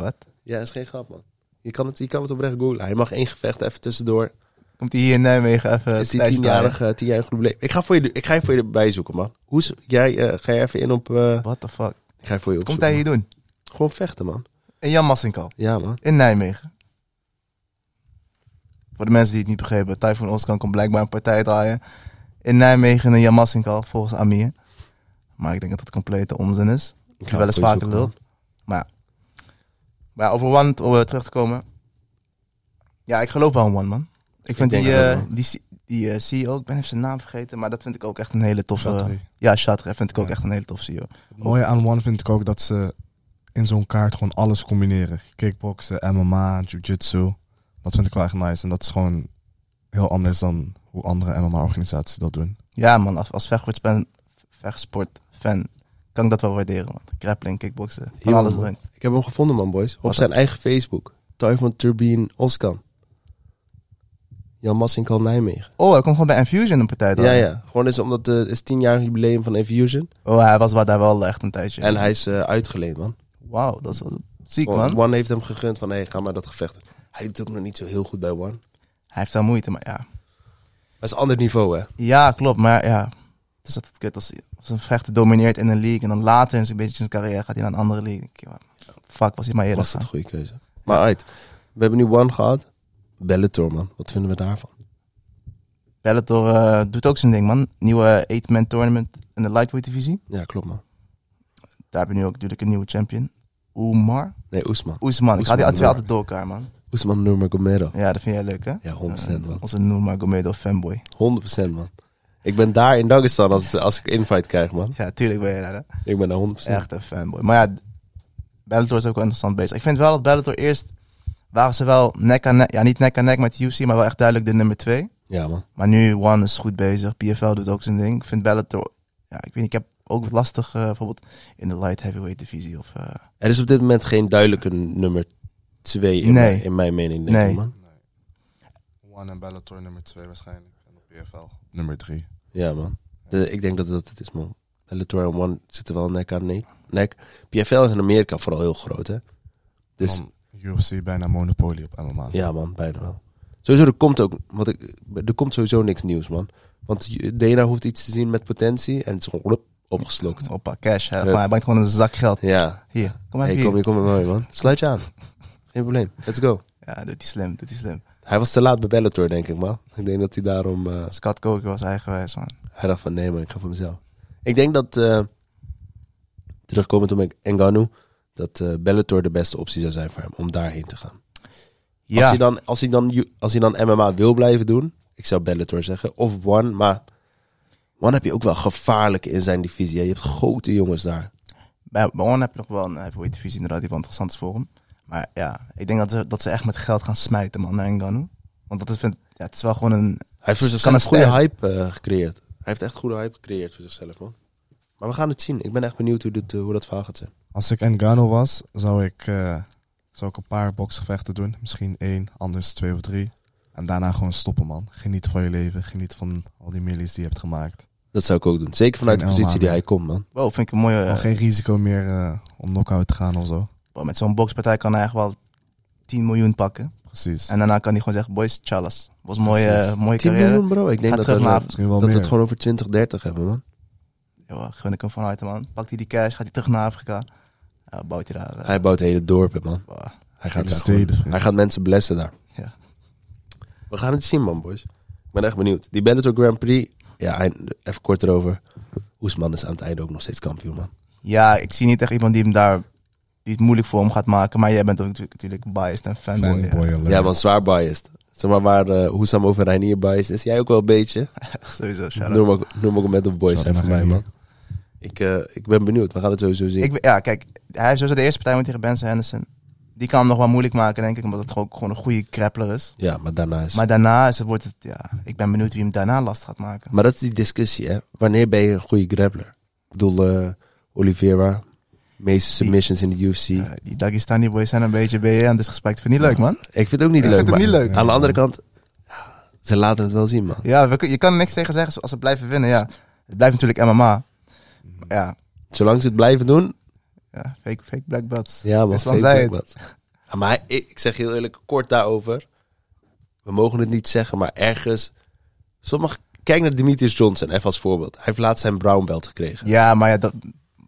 Wat? Ja, is geen grap, man. Je kan het, je kan het oprecht googlen. Hij mag één gevecht even tussendoor. Komt hij hier in Nijmegen even... is die thuis tienjarige, tienjarige probleem. Ik ga voor je, ik ga je voor je erbij zoeken, man. Hoe is- jij, eh, ga jij even in op... eh, draaien? What the fuck? ik ga je voor je opzoeken. Wat komt hij man. hier doen? Gewoon vechten, man. In Jan Massinkel. Ja, man. In Nijmegen. Voor de mensen die het niet begrepen. Typhoon Oskan komt blijkbaar een partij draaien. In Nijmegen en Jan Massinkel, volgens Amir. Maar ik denk dat dat complete onzin is. Ik ga wel eens voor je vaker zoeken, lul. Maar ja, over One om eh, terug te komen. Ja, ik geloof wel in One, man. Ik vind denk die, het ook, eh, man. die, C- die eh, CEO, ik ben even zijn naam vergeten, maar dat vind ik ook echt een hele toffe... Chattery. Ja, Shatra vind ik ook Ja. echt een hele toffe E CEO. Het mooie aan One vind ik ook dat ze in zo'n kaart gewoon alles combineren. Kickboksen, MMA, jiu-jitsu. Dat Dat vind ik wel echt nice. En dat is gewoon heel anders dan hoe andere MMA-organisaties dat doen. Ja, man, als, als vechtsportfan vechtsportfan kan ik dat wel waarderen. Man. Grappling, kickboksen, van Ja, alles man. erin. Ik heb hem gevonden, man, boys. Op Wat zijn eigen Facebook. Typhoon Turbine Oskan. Jan Massinkan Nijmegen. Oh, hij komt gewoon bij Infusion een partij dan. Ja, ja. Gewoon is omdat eh, het is 10 jaar jubileum van Infusion. Oh, hij was wel daar wel echt een tijdje. En hij Oh, is eh, uitgeleend, man. Wauw, dat is wel ziek, One, man. One heeft hem gegund van, hé, hey, ga maar dat gevecht. doen. Hij doet ook nog niet zo heel goed bij One. Hij heeft daar moeite, maar ja. Maar het is een ander niveau, hè. Ja, klopt, maar ja. Het is altijd kut als, als een vechter domineert in een league en dan later in zijn, beetje in zijn carrière gaat hij naar een andere league. Ik denk, ja, fuck, was hij maar eerlijk. Was dat een goede keuze. Maar uit. We hebben nu One gehad. Bellator, man. Wat vinden we daarvan? Bellator eh, doet ook zijn ding, man. Nieuwe 8-man tournament in de lightweight divisie. Ja, klopt, man. Daar heb je nu ook natuurlijk een nieuwe champion. Oemar. Nee, Oesman. Oesman. Oesman, Ik had die ja. altijd altijd door elkaar, man. Oesman Nurmagomedov. Ja, dat vind jij leuk, hè? Ja, 100% man. Onze Nurmagomedov fanboy. 100% man. Ik ben daar in Dagestan als, als ik invite krijg, man. Ja, tuurlijk ben je daar, hè? Ik ben daar 100%. Echt een fanboy. Maar ja, Bellator is ook wel interessant bezig. Ik vind wel dat Bellator eerst... waren ze wel nek aan nek... Ja, niet nek aan nek met de UFC, maar wel echt duidelijk de nummer twee. Ja, man. Maar nu, One is goed bezig. PFL doet ook zijn ding. Ik vind Bellator... Ja, ik weet niet, ik heb ook wat lastig eh, bijvoorbeeld in de light heavyweight divisie of... eh, Er is op dit moment geen duidelijke nummer 2 in, Nee. mijn- in mijn mening, denk Nee. ik, man. One en Bellator nummer 2 waarschijnlijk. En op PFL nummer 3. Ja, man. De- ik denk dat dat het is, man. Bellator en One zitten wel nek aan nek. nek. PFL is in Amerika vooral heel groot, hè. Dus Oh, Dus UFC bijna monopolie op MMA. ja, man, bijna wel. Sowieso, er komt ook... Wat ik, er komt sowieso niks nieuws, man. Want Dana hoeft iets te zien met potentie en het is gewoon blup, opgeslokt. Oppa, eh, cash. Hè. Ja. Gewoon, Hij brengt gewoon een zak geld. Ja. Hier, kom maar Hey, even kom, hier. je komt mooi, man. Sluit je aan. Geen probleem. Let's go. Ja, doet hij slim, doet hij slim. Hij was te laat bij Bellator, denk ik, man. Ik denk dat hij daarom... eh, Scott Coker was eigenwijs, man. hij dacht van, nee, man, ik ga voor mezelf. Ik denk dat... eh terugkomend op Engano... dat eh, Bellator de beste optie zou zijn voor hem... om daarheen te gaan. Als, Ja, hij dan, als, hij dan, ju- als hij dan MMA wil blijven doen... ik zou Bellator zeggen. Of One, maar... One heb je ook wel gevaarlijk in zijn divisie. hè. Je hebt grote jongens daar. bij, bij One heb je nog wel een heavyweight divisie inderdaad, die wel interessant is voor hem. Maar ja, ik denk dat ze, dat ze echt met geld gaan smijten, man, naar Ngannou. Want dat is, vind, ja, het is wel gewoon een... Hij heeft voor Kan zichzelf een een goede hype ster. eh, gecreëerd. Hij heeft echt goede hype gecreëerd voor zichzelf, man. Maar we gaan het zien. Ik ben echt benieuwd hoe, dit, eh, hoe dat verhaal gaat zijn. Als ik Engano was, zou ik, eh, zou ik een paar boksgevechten doen. Misschien één, anders twee of drie. En daarna gewoon stoppen, man. Geniet van je leven. Geniet van al die millies die je hebt gemaakt. Dat zou ik ook doen. Zeker vanuit de Geen positie die Elma, hij komt, man. Wow, vind ik een mooie... Gewoon geen risico meer eh, om knock-out te gaan of zo. wow, met zo'n bokspartij kan hij echt wel 10 miljoen pakken. Precies. En daarna kan hij gewoon zeggen, boys, chalas. Was een mooie, Precies. eh, mooie 10 carrière. miljoen, bro. Ik denk Gaat dat, terug we- naar dat Misschien wel we meer. het gewoon over 20, 30 hebben, man. Joh, gun ik hem van harte, man. Pakt hij die cash, gaat hij terug naar Afrika. Ja, bouwt hij daar... eh, Hij bouwt hele dorpen, man. wow. Hij gaat, Hele daar steden, gewoon- vriend. hij gaat mensen blessen daar. Ja. We gaan het zien, man, boys. Ik ben echt benieuwd. Die Bellator Grand Prix, ja, hij- even kort erover. Oesman is aan het einde ook nog steeds kampioen, man. Ja, ik zie niet echt iemand die hem daar die het moeilijk voor hem gaat maken. Maar jij bent ook natuurlijk, natuurlijk biased en fanboy. Fanboy ja. alert. Ja, man, zwaar biased. Zeg maar waar eh Hoesam over Reinier biased is, jij ook wel een beetje. eh, Sowieso, shout-out. Noem ook, noem ook met op boys Shout-out zijn voor naar mij, Reinier. man. Ik, eh, ik ben benieuwd. We gaan het sowieso zien. Ik, weet- ja, kijk, hij heeft sowieso de eerste partij met tegen Benson Henderson. Die kan hem nog wel moeilijk maken, denk ik, omdat het gewoon, gewoon een goede grappler is. ja, maar daarna is... Maar, Maar daarna is het, wordt het, ja, ik ben benieuwd wie hem daarna last gaat maken. dat is die discussie, hè. Wanneer ben je een goede grappler? Ik bedoel, eh, Oliveira, meeste submissions in de UFC. Ja, Eh, die Dagestani boys zijn een beetje BE aan het disrespect. Vind je niet leuk, man? ik vind het ook niet Ik leuk. vind het maar niet leuk. Aan de andere kant, ja, ze laten het wel zien, man. Ja, we kun- je kan er niks tegen zeggen als ze blijven winnen, ja. Het blijft natuurlijk MMA. Maar ja, Zolang ze het blijven doen, ja fake, fake black belts. ja, man. Islam fake zei black belt. Ja, maar hij- ik, ik zeg heel eerlijk, kort daarover. We mogen het niet zeggen, maar ergens... Sommige, kijk naar Demetrius Johnson, even als voorbeeld. Hij heeft laatst zijn brown belt gekregen. Ja, maar ja, dat,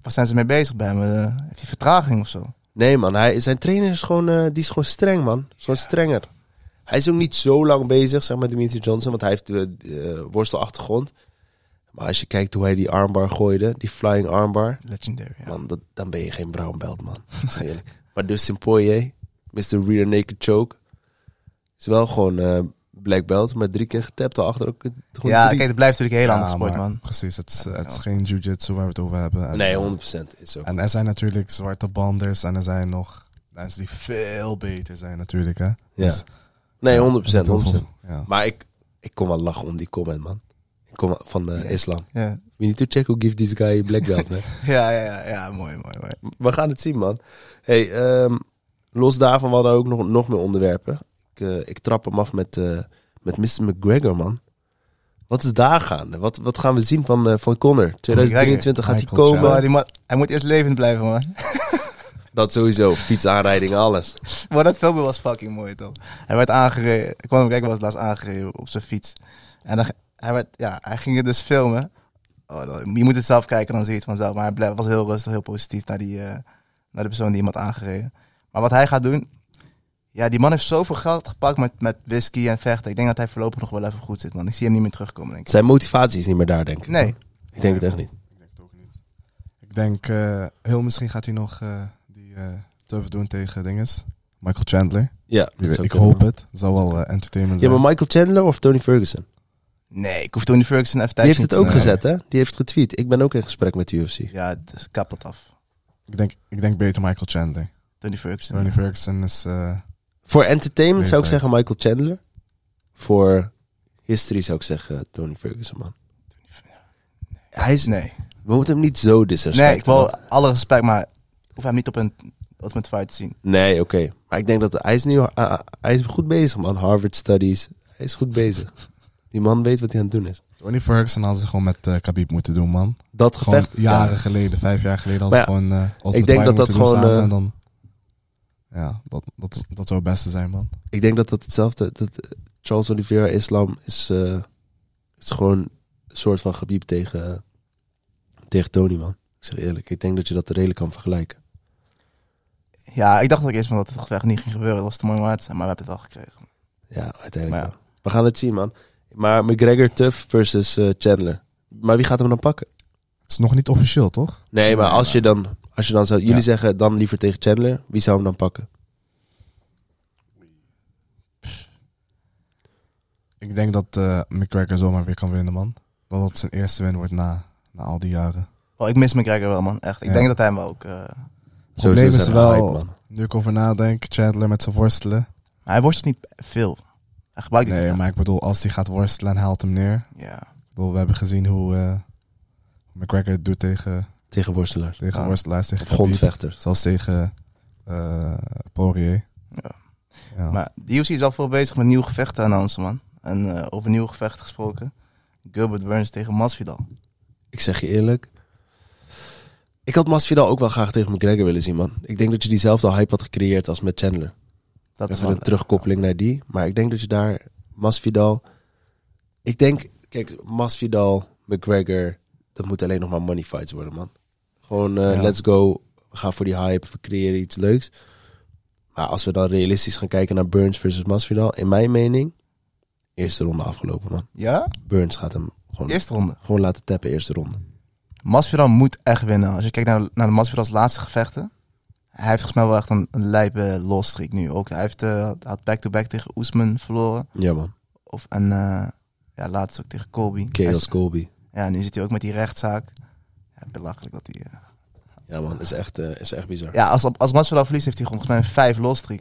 waar zijn ze mee bezig bij hem? Eh, heeft hij vertraging of zo? Nee, man. Hij, zijn trainer is gewoon, eh, die is gewoon streng, man. Zo'n strenger. Hij is ook niet zo lang bezig, zeg maar, Dimitri Johnson. Want hij heeft de worstelachtergrond. Maar als je kijkt hoe hij die armbar gooide, die flying armbar. Legendary, ja. Man, dat, dan ben je geen brown belt, man. Ik zeg eerlijk. maar Dustin Poirier, Mr. Rear Naked Choke. Is wel gewoon eh, black belt, maar drie keer getapt al achter. Ook, gewoon Ja, drie. kijk, het blijft natuurlijk een hele andere sport, maar man. Precies, het is, het is geen jiu-jitsu waar we het over hebben. En- eh, Nee, 100% is ook. En er zijn natuurlijk zwarte banders en er zijn nog mensen die veel beter zijn natuurlijk, hè. Ja. Dus Nee, 100%. Is dat heel 100%. veel? Ja. Maar ik, ik kon wel lachen om die comment, man. Ik kom van eh, islam. Ja. We need to check who give this guy black belt, man. Ja, ja, ja, ja, mooi, mooi, mooi. We gaan het zien, man. Hey, ehm, los daarvan, we hadden ook nog, nog meer onderwerpen. Ik, eh, ik trap hem af met, eh met Mr. McGregor, man. Wat is daar gaande? Wat, wat gaan we zien van, eh, van Connor? 2023 gaat hij Michael komen. Maar die man- hij moet eerst levend blijven, man. Dat sowieso. Fietsaanrijding, alles. Maar dat filmpje was fucking mooi, toch? Hij werd aangereden. Ik kwam hem kijken, was laatst aangereden op zijn fiets. En dan, hij, werd, ja, hij ging het dus filmen. Oh, dan- je moet het zelf kijken, dan zie je het vanzelf. Maar hij ble- was heel rustig, heel positief naar, die, eh, naar de persoon die iemand aangereden. Maar wat hij gaat doen... Ja, die man heeft zoveel geld gepakt met, met whisky en vechten. Ik denk dat hij voorlopig nog wel even goed zit, man. Ik zie hem niet meer terugkomen, denk ik. Zijn motivatie is niet meer daar, denk ik. Nee, Ik denk het echt niet. Ik denk het ook niet. Ik denk, eh, heel misschien gaat hij nog eh, die eh turf doen tegen dinges. Michael Chandler. Ja, dat zou Ik kunnen, hoop man. het. Dat zou wel eh, entertainment Ja, zijn. maar Michael Chandler of Tony Ferguson? nee, ik hoef Tony Ferguson even Die tijdje heeft het niet te ook zien. gezet, hè? Die heeft getweet. Ik ben ook in gesprek met de UFC. Ja, dus kap dat af. ik, denk, ik denk beter Michael Chandler. Tony Ferguson. Tony Ferguson is... eh, Voor entertainment zou ik Leeftijd. zeggen Michael Chandler. Voor history zou ik zeggen Tony Ferguson, man. Hij is, Nee. We moeten hem niet zo disrespecten. Nee, ik wil alle respect, maar ik hoef hem niet op een Ultimate Fight te zien. Nee, oké. Maar ik denk dat hij is nu... ah, ah, hij is goed bezig, man. Harvard Studies. Hij is goed bezig. Die man weet wat hij aan het doen is. Tony Ferguson hadden ze gewoon met eh Khabib moeten doen, man. Dat Gewoon gevecht... jaren Ja. geleden, vijf jaar geleden, hadden ze Maar gewoon... eh Ultimate ik denk Fighter dat dat moeten doen gewoon, samen eh, en dan, ja, dat, dat, dat zou het beste zijn, man. Ik denk dat dat hetzelfde... Dat eh, Charles Oliveira Islam is... eh, is gewoon een soort van gebied tegen... Tegen Tony, man. Ik zeg eerlijk. Ik denk dat je dat redelijk kan vergelijken. Ja, ik dacht ook eerst van dat het gevecht niet ging gebeuren. Dat was te mooi om waar te zijn, maar we hebben het wel gekregen. Ja, uiteindelijk Maar ja. wel. We gaan het zien, man. Maar McGregor Tuff versus eh, Chandler. Maar wie gaat hem dan pakken? Het is nog niet officieel, toch? Nee, maar Nee, als maar- je dan... Als je dan zou, jullie Ja. zeggen dan liever tegen Chandler. Wie zou hem dan pakken? Ik denk dat eh, McGregor zomaar weer kan winnen, man. Dat dat zijn eerste win wordt na, na al die jaren. Oh, ik mis McGregor wel, man. Echt. Ik Ja. denk dat hij hem wel ook... eh, Sowieso is zijn we wel- hype, man. Nu ik over nadenk, Chandler met zijn worstelen. maar hij worstelt niet veel. Hij gebruikt die Nee, niet. maar ik bedoel, als hij gaat worstelen en haalt hem neer. Ja. Ik bedoel, we hebben gezien hoe eh, McGregor het doet tegen, Tegen worstelaars. tegen Ja. worstelaars, tegen Of Khabib, grondvechters. Zelfs tegen eh Poirier. Ja. Oh. Ja. Maar de UFC is wel veel bezig met nieuwe gevechten aan ons, man. En eh, over nieuwe gevechten gesproken. Gilbert Burns tegen Masvidal. Ik zeg je eerlijk. Ik had Masvidal ook wel graag tegen McGregor willen zien, man. Ik denk dat je diezelfde hype had gecreëerd als met Chandler. Dat is Even wel... een terugkoppeling naar die. Maar ik denk dat je daar Masvidal... Ik denk... Kijk, Masvidal, McGregor... Dat moet alleen nog maar money fights worden, man. Gewoon eh, Ja. let's go. We gaan voor die hype. We creëren iets leuks. Maar als we dan realistisch gaan kijken naar Burns versus Masvidal... In mijn mening... Eerste ronde afgelopen, man. Ja? Burns gaat hem gewoon, Eerste ronde. gewoon laten tappen, eerste ronde. Masvidal moet echt winnen. Als je kijkt naar, naar de Masvidal's laatste gevechten. Hij heeft volgens mij wel echt een, een lijpe loss streak nu. Ook, hij heeft, eh, had back-to-back tegen Oesman verloren. Ja, man. Of, en eh, ja, laatst ook tegen Colby. Hij Chaos is- Colby. Ja, nu zit hij ook met die rechtszaak. Ja, belachelijk dat hij... eh, Ja, man. Is echt, eh, is echt bizar. Ja, als, als Masvidal verliest heeft hij gewoon volgens mij een vijf loss streak.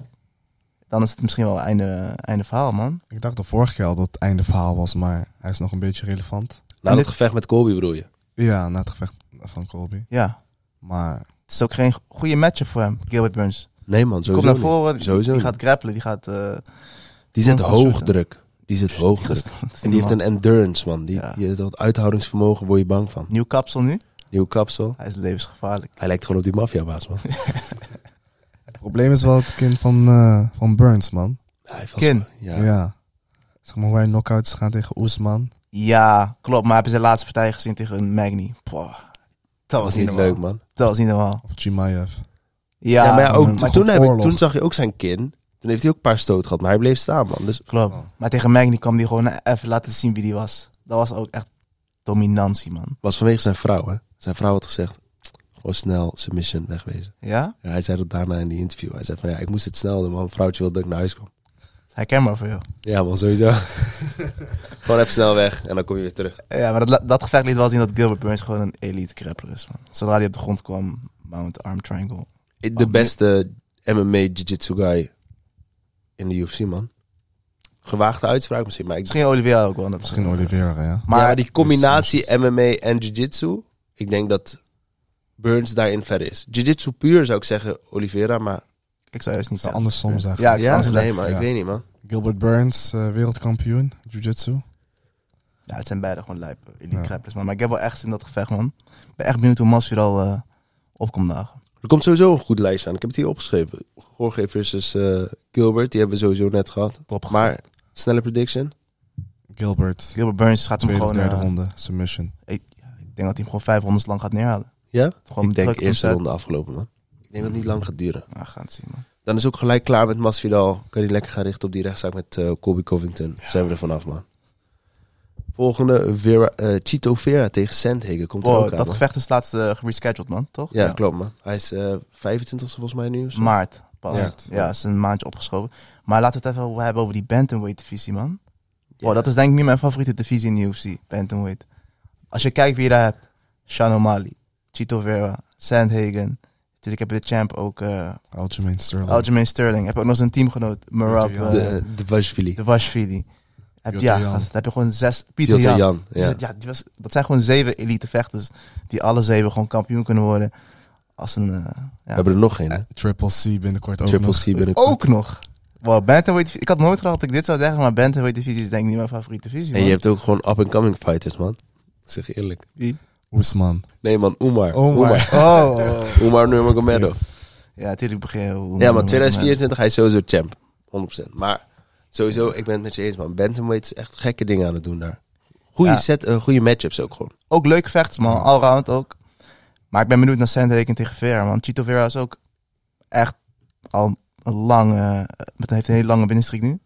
Dan is het misschien wel einde, einde verhaal, man. Ik dacht de vorige keer al dat het einde verhaal was, maar hij is nog een beetje relevant. Na en Nou, dat dit- gevecht met Colby bedoel je? Ja, na het gevecht van Colby. Ja, Maar het is ook geen go- goede matchup voor hem, Gilbert Burns. Nee, man. Sowieso Komt naar niet. voren, die- Sowieso die, niet. gaat grappelen, die gaat... eh, Die zit Constant hoog shooten. druk. Die zit hoog druk. En die heeft een endurance, man. Die, Ja. die- dat uithoudingsvermogen word je bang van. Nieuw kapsel nu. Nieuw kapsel. Hij is levensgevaarlijk. Hij lijkt gewoon op die maffiabaas, man. het probleem is wel het kind van, eh, van Burns, man. Hij vast- Kin. Ja. Ja. Zeg maar hoe hij knockouts gaat tegen Oesman. Ja, klopt. Maar hebben ze de laatste partij gezien tegen een Magni? Boah, dat Dat was was niet niet normaal. leuk, man. Dat was niet normaal. Of Chimaev. Ja, Ja, maar ja, ook, man. maar Toch toen, een heb ik, oorlog. toen zag je ook zijn kin. Toen heeft hij ook een paar stoot gehad, maar hij bleef staan, man. Dus klopt. Oh. Maar tegen Magni kwam die gewoon even laten zien wie die was. Dat was ook echt dominantie, man. was vanwege zijn vrouw, hè. Zijn vrouw had gezegd, gewoon snel submission wegwezen. Ja? Ja, hij zei dat daarna in die interview. Hij zei van, ja, ik moest het snel doen, man. Mijn vrouwtje wilde dat ik naar huis kwam. Hij ken maar voor jou. Ja, man, sowieso. gewoon even snel weg en dan kom je weer terug. Ja, maar dat, dat gevecht liet wel zien dat Gilbert Burns gewoon een elite grappler is, man. Zodra hij op de grond kwam, Mount Arm Triangle. De nee. beste MMA jiu-jitsu guy in de UFC, man. gewaagde uitspraak misschien. Maar ik, Misschien Olivier ook wel. Misschien Oliveira, ja. maar, Maar die combinatie MMA en Jiu-Jitsu, ik denk dat Burns daarin verder is. Jiu-Jitsu puur zou ik zeggen Oliveira, maar ik zou juist niet Het zeggen. is anders soms eigenlijk. Ja, ja, ja, nee, maar ik ja. weet niet man. Gilbert Burns, eh, wereldkampioen, jiu-jitsu. ja, het zijn beide gewoon lijpen. Elite Ja. grapplers, man. Maar ik heb wel echt zin in dat gevecht, man. Ik ben echt benieuwd hoe Masvidal eh opkomt dagen. Er komt sowieso een goed lijst aan. Ik heb het hier opgeschreven. Jorge versus eh, Gilbert, die hebben we sowieso net gehad. Top. Maar, snelle prediction. Gilbert, Gilbert Burns gaat hem tweede of gewoon... derde eh, ronde, submission. ik denk dat hij hem gewoon vijf rondes lang gaat neerhalen. Ja? Gewoon ik denk druk eerste omzet. ronde afgelopen man. Ik denk dat het niet lang gaat duren. Ja, gaan het zien, man. Dan is ook gelijk klaar met Masvidal. Kan hij lekker gaan richten op die rechtszaak met eh Colby Covington. Zijn we er vanaf, man. Volgende, Vera, eh, Chito Vera tegen Sandhagen. Komt er Wow, ook aan, Oh, dat man. gevecht is laatst eh, gerescheduled, man. Toch? Ja, klopt, man. Hij is eh 25 volgens mij nu. of zo. Maart pas. Ja. Ja, is een maandje opgeschoven. Maar laten we het even hebben over die bantamweight-divisie, man. Ja. Wow, oh, dat is denk ik nu mijn favoriete divisie in de UFC, bantamweight. Als je kijkt wie je daar hebt. Sean O'Malley, Chito Vera, Sandhagen. Natuurlijk heb je de champ ook, eh Algemeen Sterling. Aljamain Sterling. Heb je ook nog zijn teamgenoot, Marab Peter Jan. eh De, de Vashvili. de Washvili. Heb, Peter ja, Jan. gast, dan heb je gewoon zes, Pieter Piotr Jan. Jan. Dus Ja. dat- ja, die was, dat zijn gewoon zeven elite vechters die alle zeven gewoon kampioen kunnen worden. Als een, eh, We ja. hebben er nog één, hè? Triple C binnenkort ook Triple nog. C binnenkort. Ook nog. Wow, bantamweight, ik had nooit gedacht dat ik dit zou zeggen, maar bantamweight divisie is denk ik niet mijn favoriete divisie. En je man. hebt ook gewoon up-and-coming fighters, man. Ik zeg je eerlijk. Wie? Oesman. Nee, man. Oemar. Oh, Oemar. maar. Oh, oh, oh. Oemar Nurmagomedov. Ja, natuurlijk begin je hoe- Ja, maar hoe- 2024, hij is sowieso champ. 100%. Maar sowieso, ik ben het met je eens, man. Bantamweight is echt gekke dingen aan het doen daar. Goede Ja. set, eh, goede matchups ook gewoon. Ook leuk vechts, man. Allround ook. Maar ik ben benieuwd naar Sandhagen tegen Vera, man. Chito Vera is ook echt al een lang... eh, met heeft een hele lange binnenstreek nu.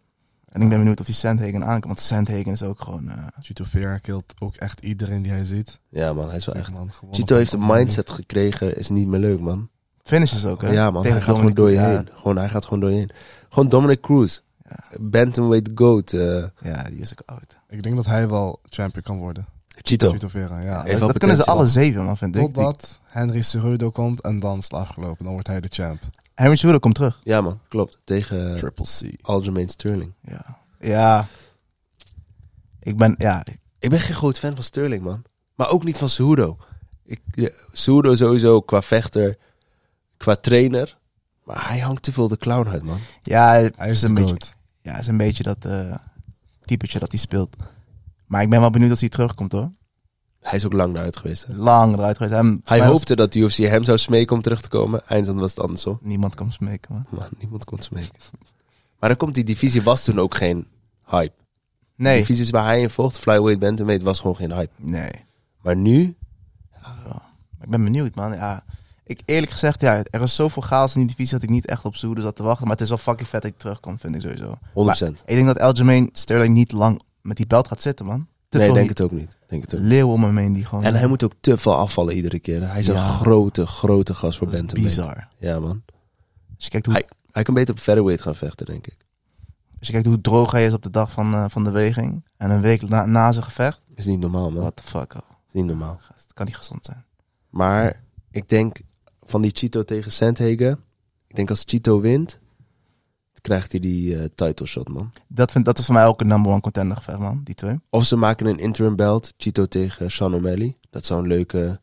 En ik ben benieuwd of die Sandhagen aankomt. Want Sandhagen is ook gewoon... eh, Chito Vera killt ook echt iedereen die hij ziet. Ja, man, hij is wel echt. Man, gewonnen Chito van heeft een Colby. mindset gekregen, is niet meer leuk, man. finishes ook, hè? Ja, man, Tegen hij gaat gewoon Dominic door je Cruz, heen. Gewoon, hij gaat gewoon door je heen. Gewoon Dominic Cruz. Ja. Bantamweight GOAT. eh Ja, ja, die is ook oud. Ik denk dat hij wel champion kan worden. Chito. Chito Vera, ja. Ja, Heeft wel dat kunnen ze potentie, alle zeven, man, vind ik. Die- Totdat Henry Cejudo komt en dan is het afgelopen. Dan wordt hij de champ. Henry Cejudo komt terug. Ja, man, klopt. Tegen eh, Triple C. Aljamain Sterling. Ja. Ja. Ik ben, ja, Ik ben geen groot fan van Sterling, man. Maar ook niet van Cejudo. Ik, ja, Cejudo sowieso qua vechter, qua trainer. Maar hij hangt te veel de clown uit, man. ja het Hij is de een beetje, goat. ja, is een beetje dat eh typetje dat hij speelt. Maar ik ben wel benieuwd als hij terugkomt, hoor. Hij is ook lang eruit geweest. hè. Lang eruit geweest. Hem, Hij mij was- hoopte dat de UFC hem zou smeken om terug te komen. Eindstand was het andersom. Niemand kan smeken, man. Maar niemand kon smeken. Maar dan komt die divisie, was toen ook geen hype. De Nee. divisies waar hij in vocht, flyweight, bantamweight, was gewoon geen hype. Nee. Maar nu, Ik ben benieuwd, man. Ja. Ik, eerlijk gezegd, ja, er is zoveel chaos in die divisie dat ik niet echt op Zoede zat te wachten. Maar het is wel fucking vet dat hij terugkomt, vind ik sowieso. 100%. Ik denk dat Aljamain Sterling niet lang met die belt gaat zitten, man. Te nee, veel denk die het ook niet. Denk het ook. niet. leeuw om hem heen die gewoon... En hij moet ook te veel afvallen iedere keer. Hij is een Ja. grote, grote gast voor dat is bantamweight. bizar. Ja, man. Als je, kijkt hoe, Hij kan beter op featherweight gaan vechten, denk ik. als je kijkt hoe droog hij is op de dag van, eh, van de weging. En een week na, na zijn gevecht. Is niet normaal, man. What the fuck, oh, Is niet normaal. gast, het kan niet gezond zijn. Maar ik denk van die Chito tegen Sandhagen. Ik denk als Chito wint, krijgt hij die eh title shot, man. Dat, vind, dat is voor mij ook een number one contender gevecht, man. Die twee. Of ze maken een interim belt, Chito tegen Sean O'Malley. Dat zou een leuke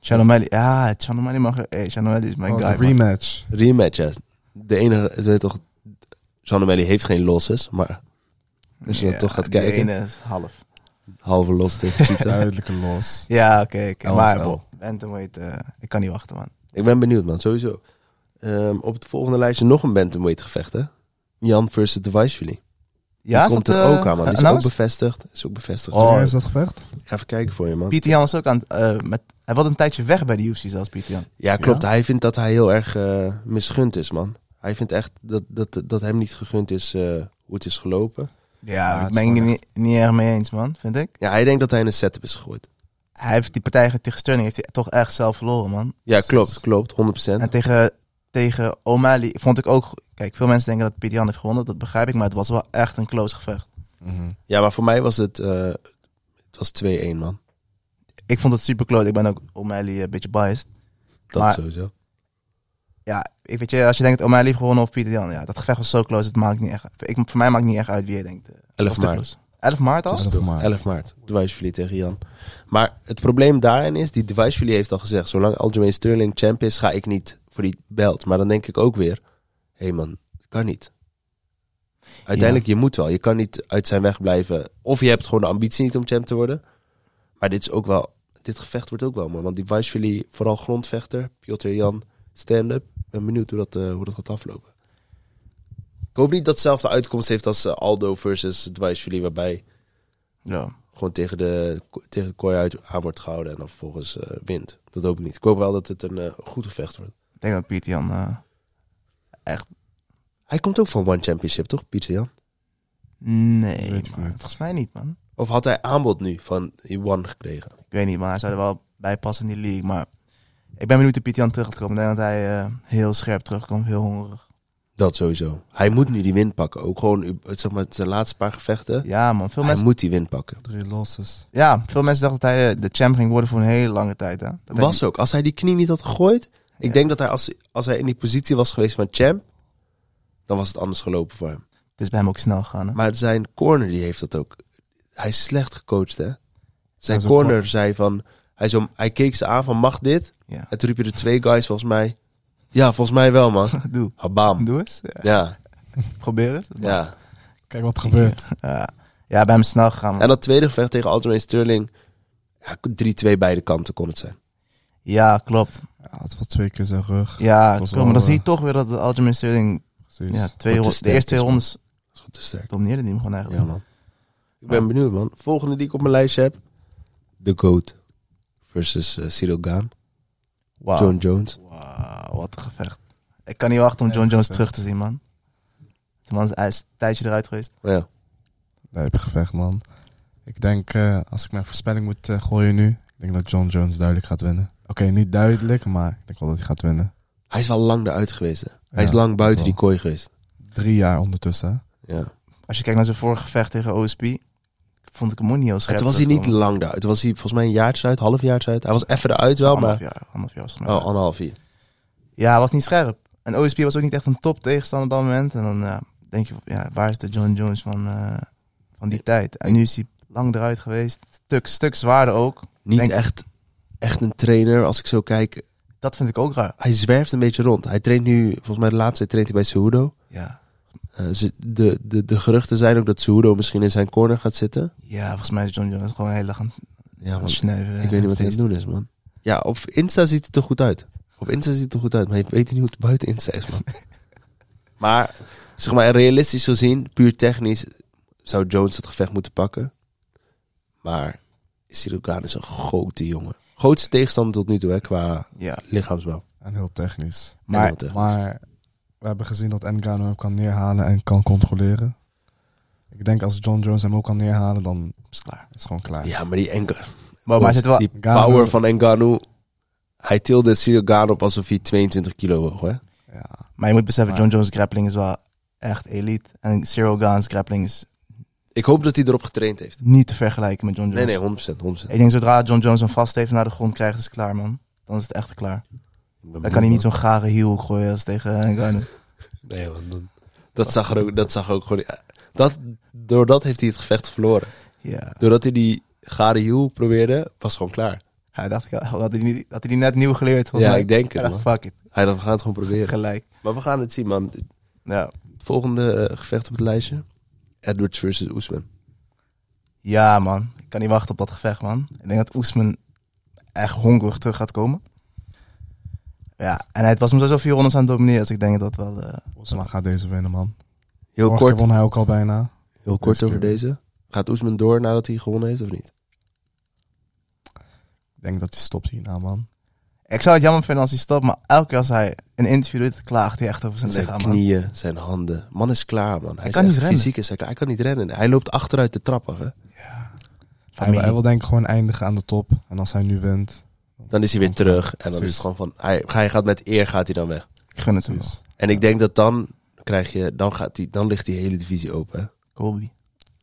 Sean O'Malley. Ja, Sean O'Malley mag... Hey, Sean O'Malley is mijn Oh, guy, de man. rematch. rematch zijn. De enige, ze weet toch, Sean O'Malley heeft geen losses, maar Als je dan toch gaat die kijken. ene is half. halve los tegen Chito. Duidelijke los. Ja, oké. oké. LSL. Maar bro, bantamweight, eh, ik kan niet wachten, man. ik ben benieuwd, man, sowieso. Ehm, op het volgende lijstje nog een bantamweight gevecht, hè? Jan versus Deviceville. Ja, Die komt dat, er eh, ook aan, man. Die is ook announced? bevestigd. Is ook bevestigd. Oh. Wanneer is dat gevecht? Ik ga even kijken voor je, man. Pieter Jan was ook aan het... eh, met, hij was een tijdje weg bij de UFC zelfs, Pieter Jan. Ja, klopt. Hij vindt dat hij heel erg eh, misgund is, man. Hij vindt echt dat, dat, dat hem niet gegund is eh, hoe het is gelopen. Ja, het ik is ben gewoon het niet, niet erg mee eens, man, vind ik. Ja, hij denkt dat hij in een setup is gegooid. Hij heeft die partij tegen Sterling heeft hij toch echt zelf verloren, man. Ja, klopt, klopt. 100%. En tegen, tegen O'Malley vond ik ook... Kijk, veel mensen denken dat Pieter Jan heeft gewonnen, dat begrijp ik. Maar het was wel echt een close gevecht. Ja, maar voor mij was het, eh, het was 2-1, man. eh, Ik vond het super close. Ik ben ook O'Malley een beetje biased. Dat Maar- sowieso. ja, ik weet je, als je denkt, oh, mij lief gewonnen of Pieter Jan. Ja, dat gevecht was zo close, het maakt niet echt. Ik, voor mij maakt niet echt uit wie je denkt. eh, 11 was de maart. close. 11 maart al? Het is 11 maart. 11 maart. Dwijsvili tegen Jan. Maar het probleem daarin is, die Dwijsvili heeft al gezegd... zolang Aljamain Sterling champ is, ga ik niet voor die belt. Maar dan denk ik ook weer, hé hey man, dat kan niet. Uiteindelijk, je moet wel. Je kan niet uit zijn weg blijven. Of je hebt gewoon de ambitie niet om champ te worden. Maar dit is ook wel... Dit gevecht wordt ook wel, man. Want die Dwijsvili, vooral grondvechter, Piotr Jan, stand-up. Ik ben benieuwd hoe dat, eh, hoe dat gaat aflopen. Ik hoop niet dat hetzelfde uitkomst heeft als eh, Aldo versus Dwijsvili, waarbij Ja. gewoon tegen de, tegen de kooi uit aan wordt gehouden en dan vervolgens eh, wint. Dat hoop ik niet. Ik hoop wel dat het een eh, goed gevecht wordt. Ik denk dat Pieter Jan... eh, Hij komt ook van One Championship, toch, Pieter Jan? nee, Weet ik man. niet. volgens mij niet, man. Of had hij aanbod nu van One gekregen? Ik weet niet, maar hij zou er wel bij passen in die league. Maar ik ben benieuwd hoe Pieter Jan terug gaat komen. Ik denk dat hij eh, heel scherp terugkomt, heel hongerig. Dat sowieso. Hij moet nu die win pakken. Ook gewoon u- zeg maar, zijn laatste paar gevechten. Ja, man. Veel hij mensen, moet die win pakken. Drie losses. ja, veel mensen dachten dat hij eh, de champ ging worden voor een hele lange tijd. Hè? Dat hij- Was ook. Als hij die knie niet had gegooid. Ik Ja. denk dat hij als, als hij in die positie was geweest van champ. Dan was het anders gelopen voor hem. Het is bij hem ook snel gegaan. Hè? Maar zijn corner die heeft dat ook. Hij is slecht gecoacht, hè? Zijn zijn corner corner. zei van... Hij, zo, hij keek ze aan van, mag dit? Ja. En toen riepen er twee guys volgens mij... Ja, volgens mij wel, man. Doe. Habam. Doe eens. Ja. Ja, Probeer het. ja. Kijk wat er gebeurt. Ja. ja, bij hem is snel gegaan. man. En dat tweede gevecht tegen Aljamain Sterling... Ja, 3-2 beide kanten kon het zijn. Ja, klopt. Ja, het was twee keer zijn rug. Ja, Dat was klopt. Maar dan wel, zie je eh, toch weer dat de Algemeen Sterling Precies. ja, twee rondes- de sterk eerste twee is, man. rondes Dat is goed te sterk. domineerde die hem gewoon eigenlijk. Ja, man. Ik ben benieuwd, man. Volgende die ik op mijn lijstje heb... The Goat versus eh, Cyril Gaan. Wauw. John Jones. Wauw, wat een gevecht. Ik kan niet wachten om Ja, John Jones gevecht. terug te zien, man. De man is hij is een tijdje eruit geweest. Ja. Nee, heb gevecht, man. Ik denk, eh, als ik mijn voorspelling moet eh, gooien nu, ik denk dat John Jones duidelijk gaat winnen. Oké, niet duidelijk, maar ik denk wel dat hij gaat winnen. Hij is wel lang eruit geweest, hè? Hij Ja, is lang buiten dat die wel. kooi geweest. Drie jaar ondertussen. hè? Ja. Als je kijkt naar zijn vorige gevecht tegen OSP, vond ik hem ook niet heel En scherp. toen was hij niet lang daar. Toen was hij volgens mij een jaartje uit, half jaartje uit. Hij was even eruit wel, maar... maar... jaar, anderhalf jaar was het maar. Oh, anderhalf jaar. Ja, hij was niet scherp. En OSP was ook niet echt een top tegenstander op dat moment. En dan ja, denk je, ja, waar is de John Jones van, eh, van die tijd? En nu is hij lang eruit geweest. Stuk, stuk zwaarder ook. Niet Denk- echt, echt een trainer, als ik zo kijk. Dat vind ik ook raar. Hij zwerft een beetje rond. Hij traint nu, volgens mij de laatste traint hij bij Cejudo. Ja. Eh, ze- de, de, de geruchten zijn ook dat Cejudo misschien in zijn corner gaat zitten. Ja, volgens mij is John Jones gewoon heel erg aan Ja, het man. snuiven. Ik weet niet wat hij aan het doen is, man. Ja, op Insta ziet het er goed uit. Op Insta ziet het er goed uit, maar je weet niet hoe het buiten Insta is, man. maar, zeg maar, realistisch gezien, puur technisch, zou Jones het gevecht moeten pakken. Maar Cyril Gaan is een grote jongen. Grootste tegenstander tot nu toe, hè, qua Ja, lichaamsbouw. En heel technisch. Maar, maar heel technisch. Maar we hebben gezien dat Ngannou hem kan neerhalen en kan controleren. Ik denk als John Jones hem ook kan neerhalen, dan is klaar. is het gewoon klaar. ja, maar die, enkel, Maar, maar hij zit wel... die Ngannou- power van Engano. Hij tilde Cyril Gaan op alsof hij 22 kilo woog, hè? Ja. Maar je moet beseffen, Maar- John Jones' grappling is wel echt elite. En Cyril Gaan's grappling is Ik hoop dat hij erop getraind heeft. niet te vergelijken met John Nee, Jones. nee, 100%. 100%. Ik denk zodra John Jones hem vast heeft en naar de grond krijgt, is het klaar, man. Dan is het echt klaar. Dan kan hij niet zo'n gare hielhoek gooien als tegen eh, Ngannou. Nee, man. Dat, dat, zag er ook, dat zag ook gewoon... Dat, doordat heeft hij het gevecht verloren. Ja, Doordat hij die gare hiel probeerde, was gewoon klaar. hij dacht, ik, had hij, die, had hij die net nieuw geleerd? ja, Volgens mij. ik denk Hij het, man. dacht, fuck it, Hij dacht, we gaan het gewoon proberen. gelijk. Maar we gaan het zien, man. Het Ja. volgende eh, gevecht op het lijstje. Edwards versus Oesman. ja, man. Ik kan niet wachten op dat gevecht, man. Ik denk dat Oesman echt hongerig terug gaat komen. Ja, en het was hem sowieso vier rondes aan het domineren. Dus ik denk dat dat wel... eh, Osman gaat deze winnen, man. Heel Vorige keer kort, won hij ook al bijna. heel kort Deze over keer. deze. Gaat Oesman door nadat hij gewonnen heeft of niet? Ik denk dat hij stopt hierna, man. Ik zou het jammer vinden als hij stopt, maar elke keer als hij een interview doet, klaagt hij echt over zijn Zijn lichaam. man. knieën, zijn handen. Man is klaar, man. Hij is kan echt- niet rennen. Fysiek is hij klaar. Hij kan niet rennen. Hij loopt achteruit de trap af, hè. Hij wil, Familie. hij wil denk ik gewoon eindigen aan de top. En als hij nu wint, Dan is hij weer terug. En dan is Precies. het gewoon van... Hij, hij gaat met eer gaat hij dan weg. Ik gun het hem wel. is En ik denk dat dan krijg je, dan gaat die, dan ligt die hele divisie open. hè. Colby.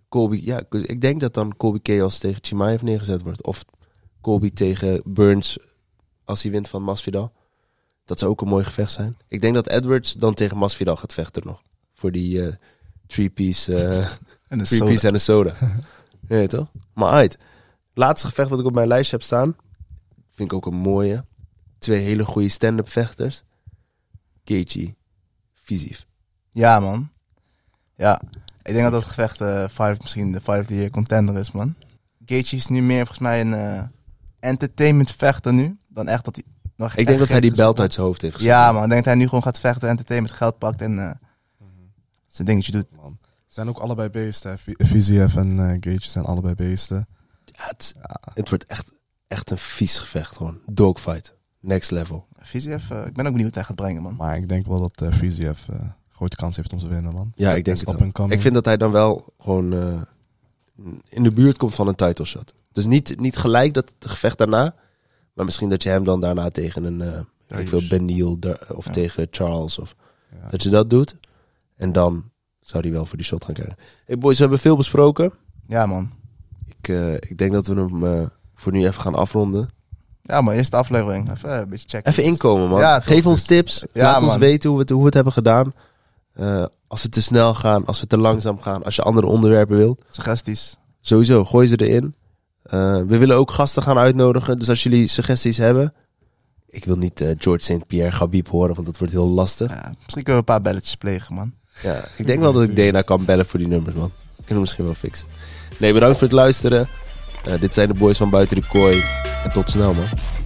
Colby, ja, ik- ik denk dat dan Colby Chaos tegen Chimaev neergezet wordt. Of Colby tegen Burns als hij wint van Masvidal. Dat zou ook een mooi gevecht zijn. Ik denk dat Edwards dan tegen Masvidal gaat vechten nog. Voor die eh three-piece eh, En dat is Three zo- piece en een soda. Je weet toch? Maar uit. Laatste gevecht wat ik op mijn lijstje heb staan. Vind ik ook een mooie. Twee hele goede stand-up vechters. Keiichi. Vizief. Ja, man. Ja. Ik denk dat dat gevecht eh, five, misschien de five of the year contender is, man. Gaethje is nu meer volgens mij een eh, entertainment vechter nu. Dan echt dat hij... Nog Ik denk dat hij die belt uit zijn hoofd heeft gezet. Ja, man. Ik denk dat hij nu gewoon gaat vechten, entertainment geld pakt en eh, zijn dingetje doet. Man. Ze zijn ook allebei beesten. hè. Vi- Viziev en eh, Gage zijn allebei beesten. Ja, het, het wordt echt, echt een vies gevecht gewoon. Dogfight. Next level. Viziev, eh, ik ben ook benieuwd wat hij gaat brengen, man. Maar ik denk wel dat eh Viziev eh grote kans heeft om te winnen, man. Ja, ik denk Is het up wel. and coming. Ik vind dat hij dan wel gewoon eh, in de buurt komt van een title shot. Dus niet, niet gelijk dat het gevecht daarna. Maar misschien dat je hem dan daarna tegen een... eh weet ik veel, Ben Neal daar- eh, of Ja. tegen Charles. Of, Ja. Dat je dat doet. En dan zou hij wel voor die shot gaan krijgen. Hey boys, we hebben veel besproken. Ja, man. Ik, eh, ik denk dat we hem eh, voor nu even gaan afronden. Ja, man. Eerste aflevering. Even eh, een beetje checken. Even inkomen, man. Ja, toch, Geef ons dus- tips. Ja, Laat ons man. weten hoe we het, hoe we het hebben gedaan. Eh, als we te snel gaan, als we te langzaam gaan, als je andere onderwerpen wilt. Suggesties. Sowieso, gooi ze erin. Eh, we willen ook gasten gaan uitnodigen. Dus als jullie suggesties hebben. Ik wil niet eh, George St. Pierre Gabib horen, want dat wordt heel lastig. Ja, misschien kunnen we een paar belletjes plegen, man. Ja, ik denk wel dat ik Dena kan bellen voor die nummers, man. Kunnen we misschien wel fixen. Nee, bedankt voor het luisteren. Eh, dit zijn de boys van Buiten de Kooi. En tot snel, man.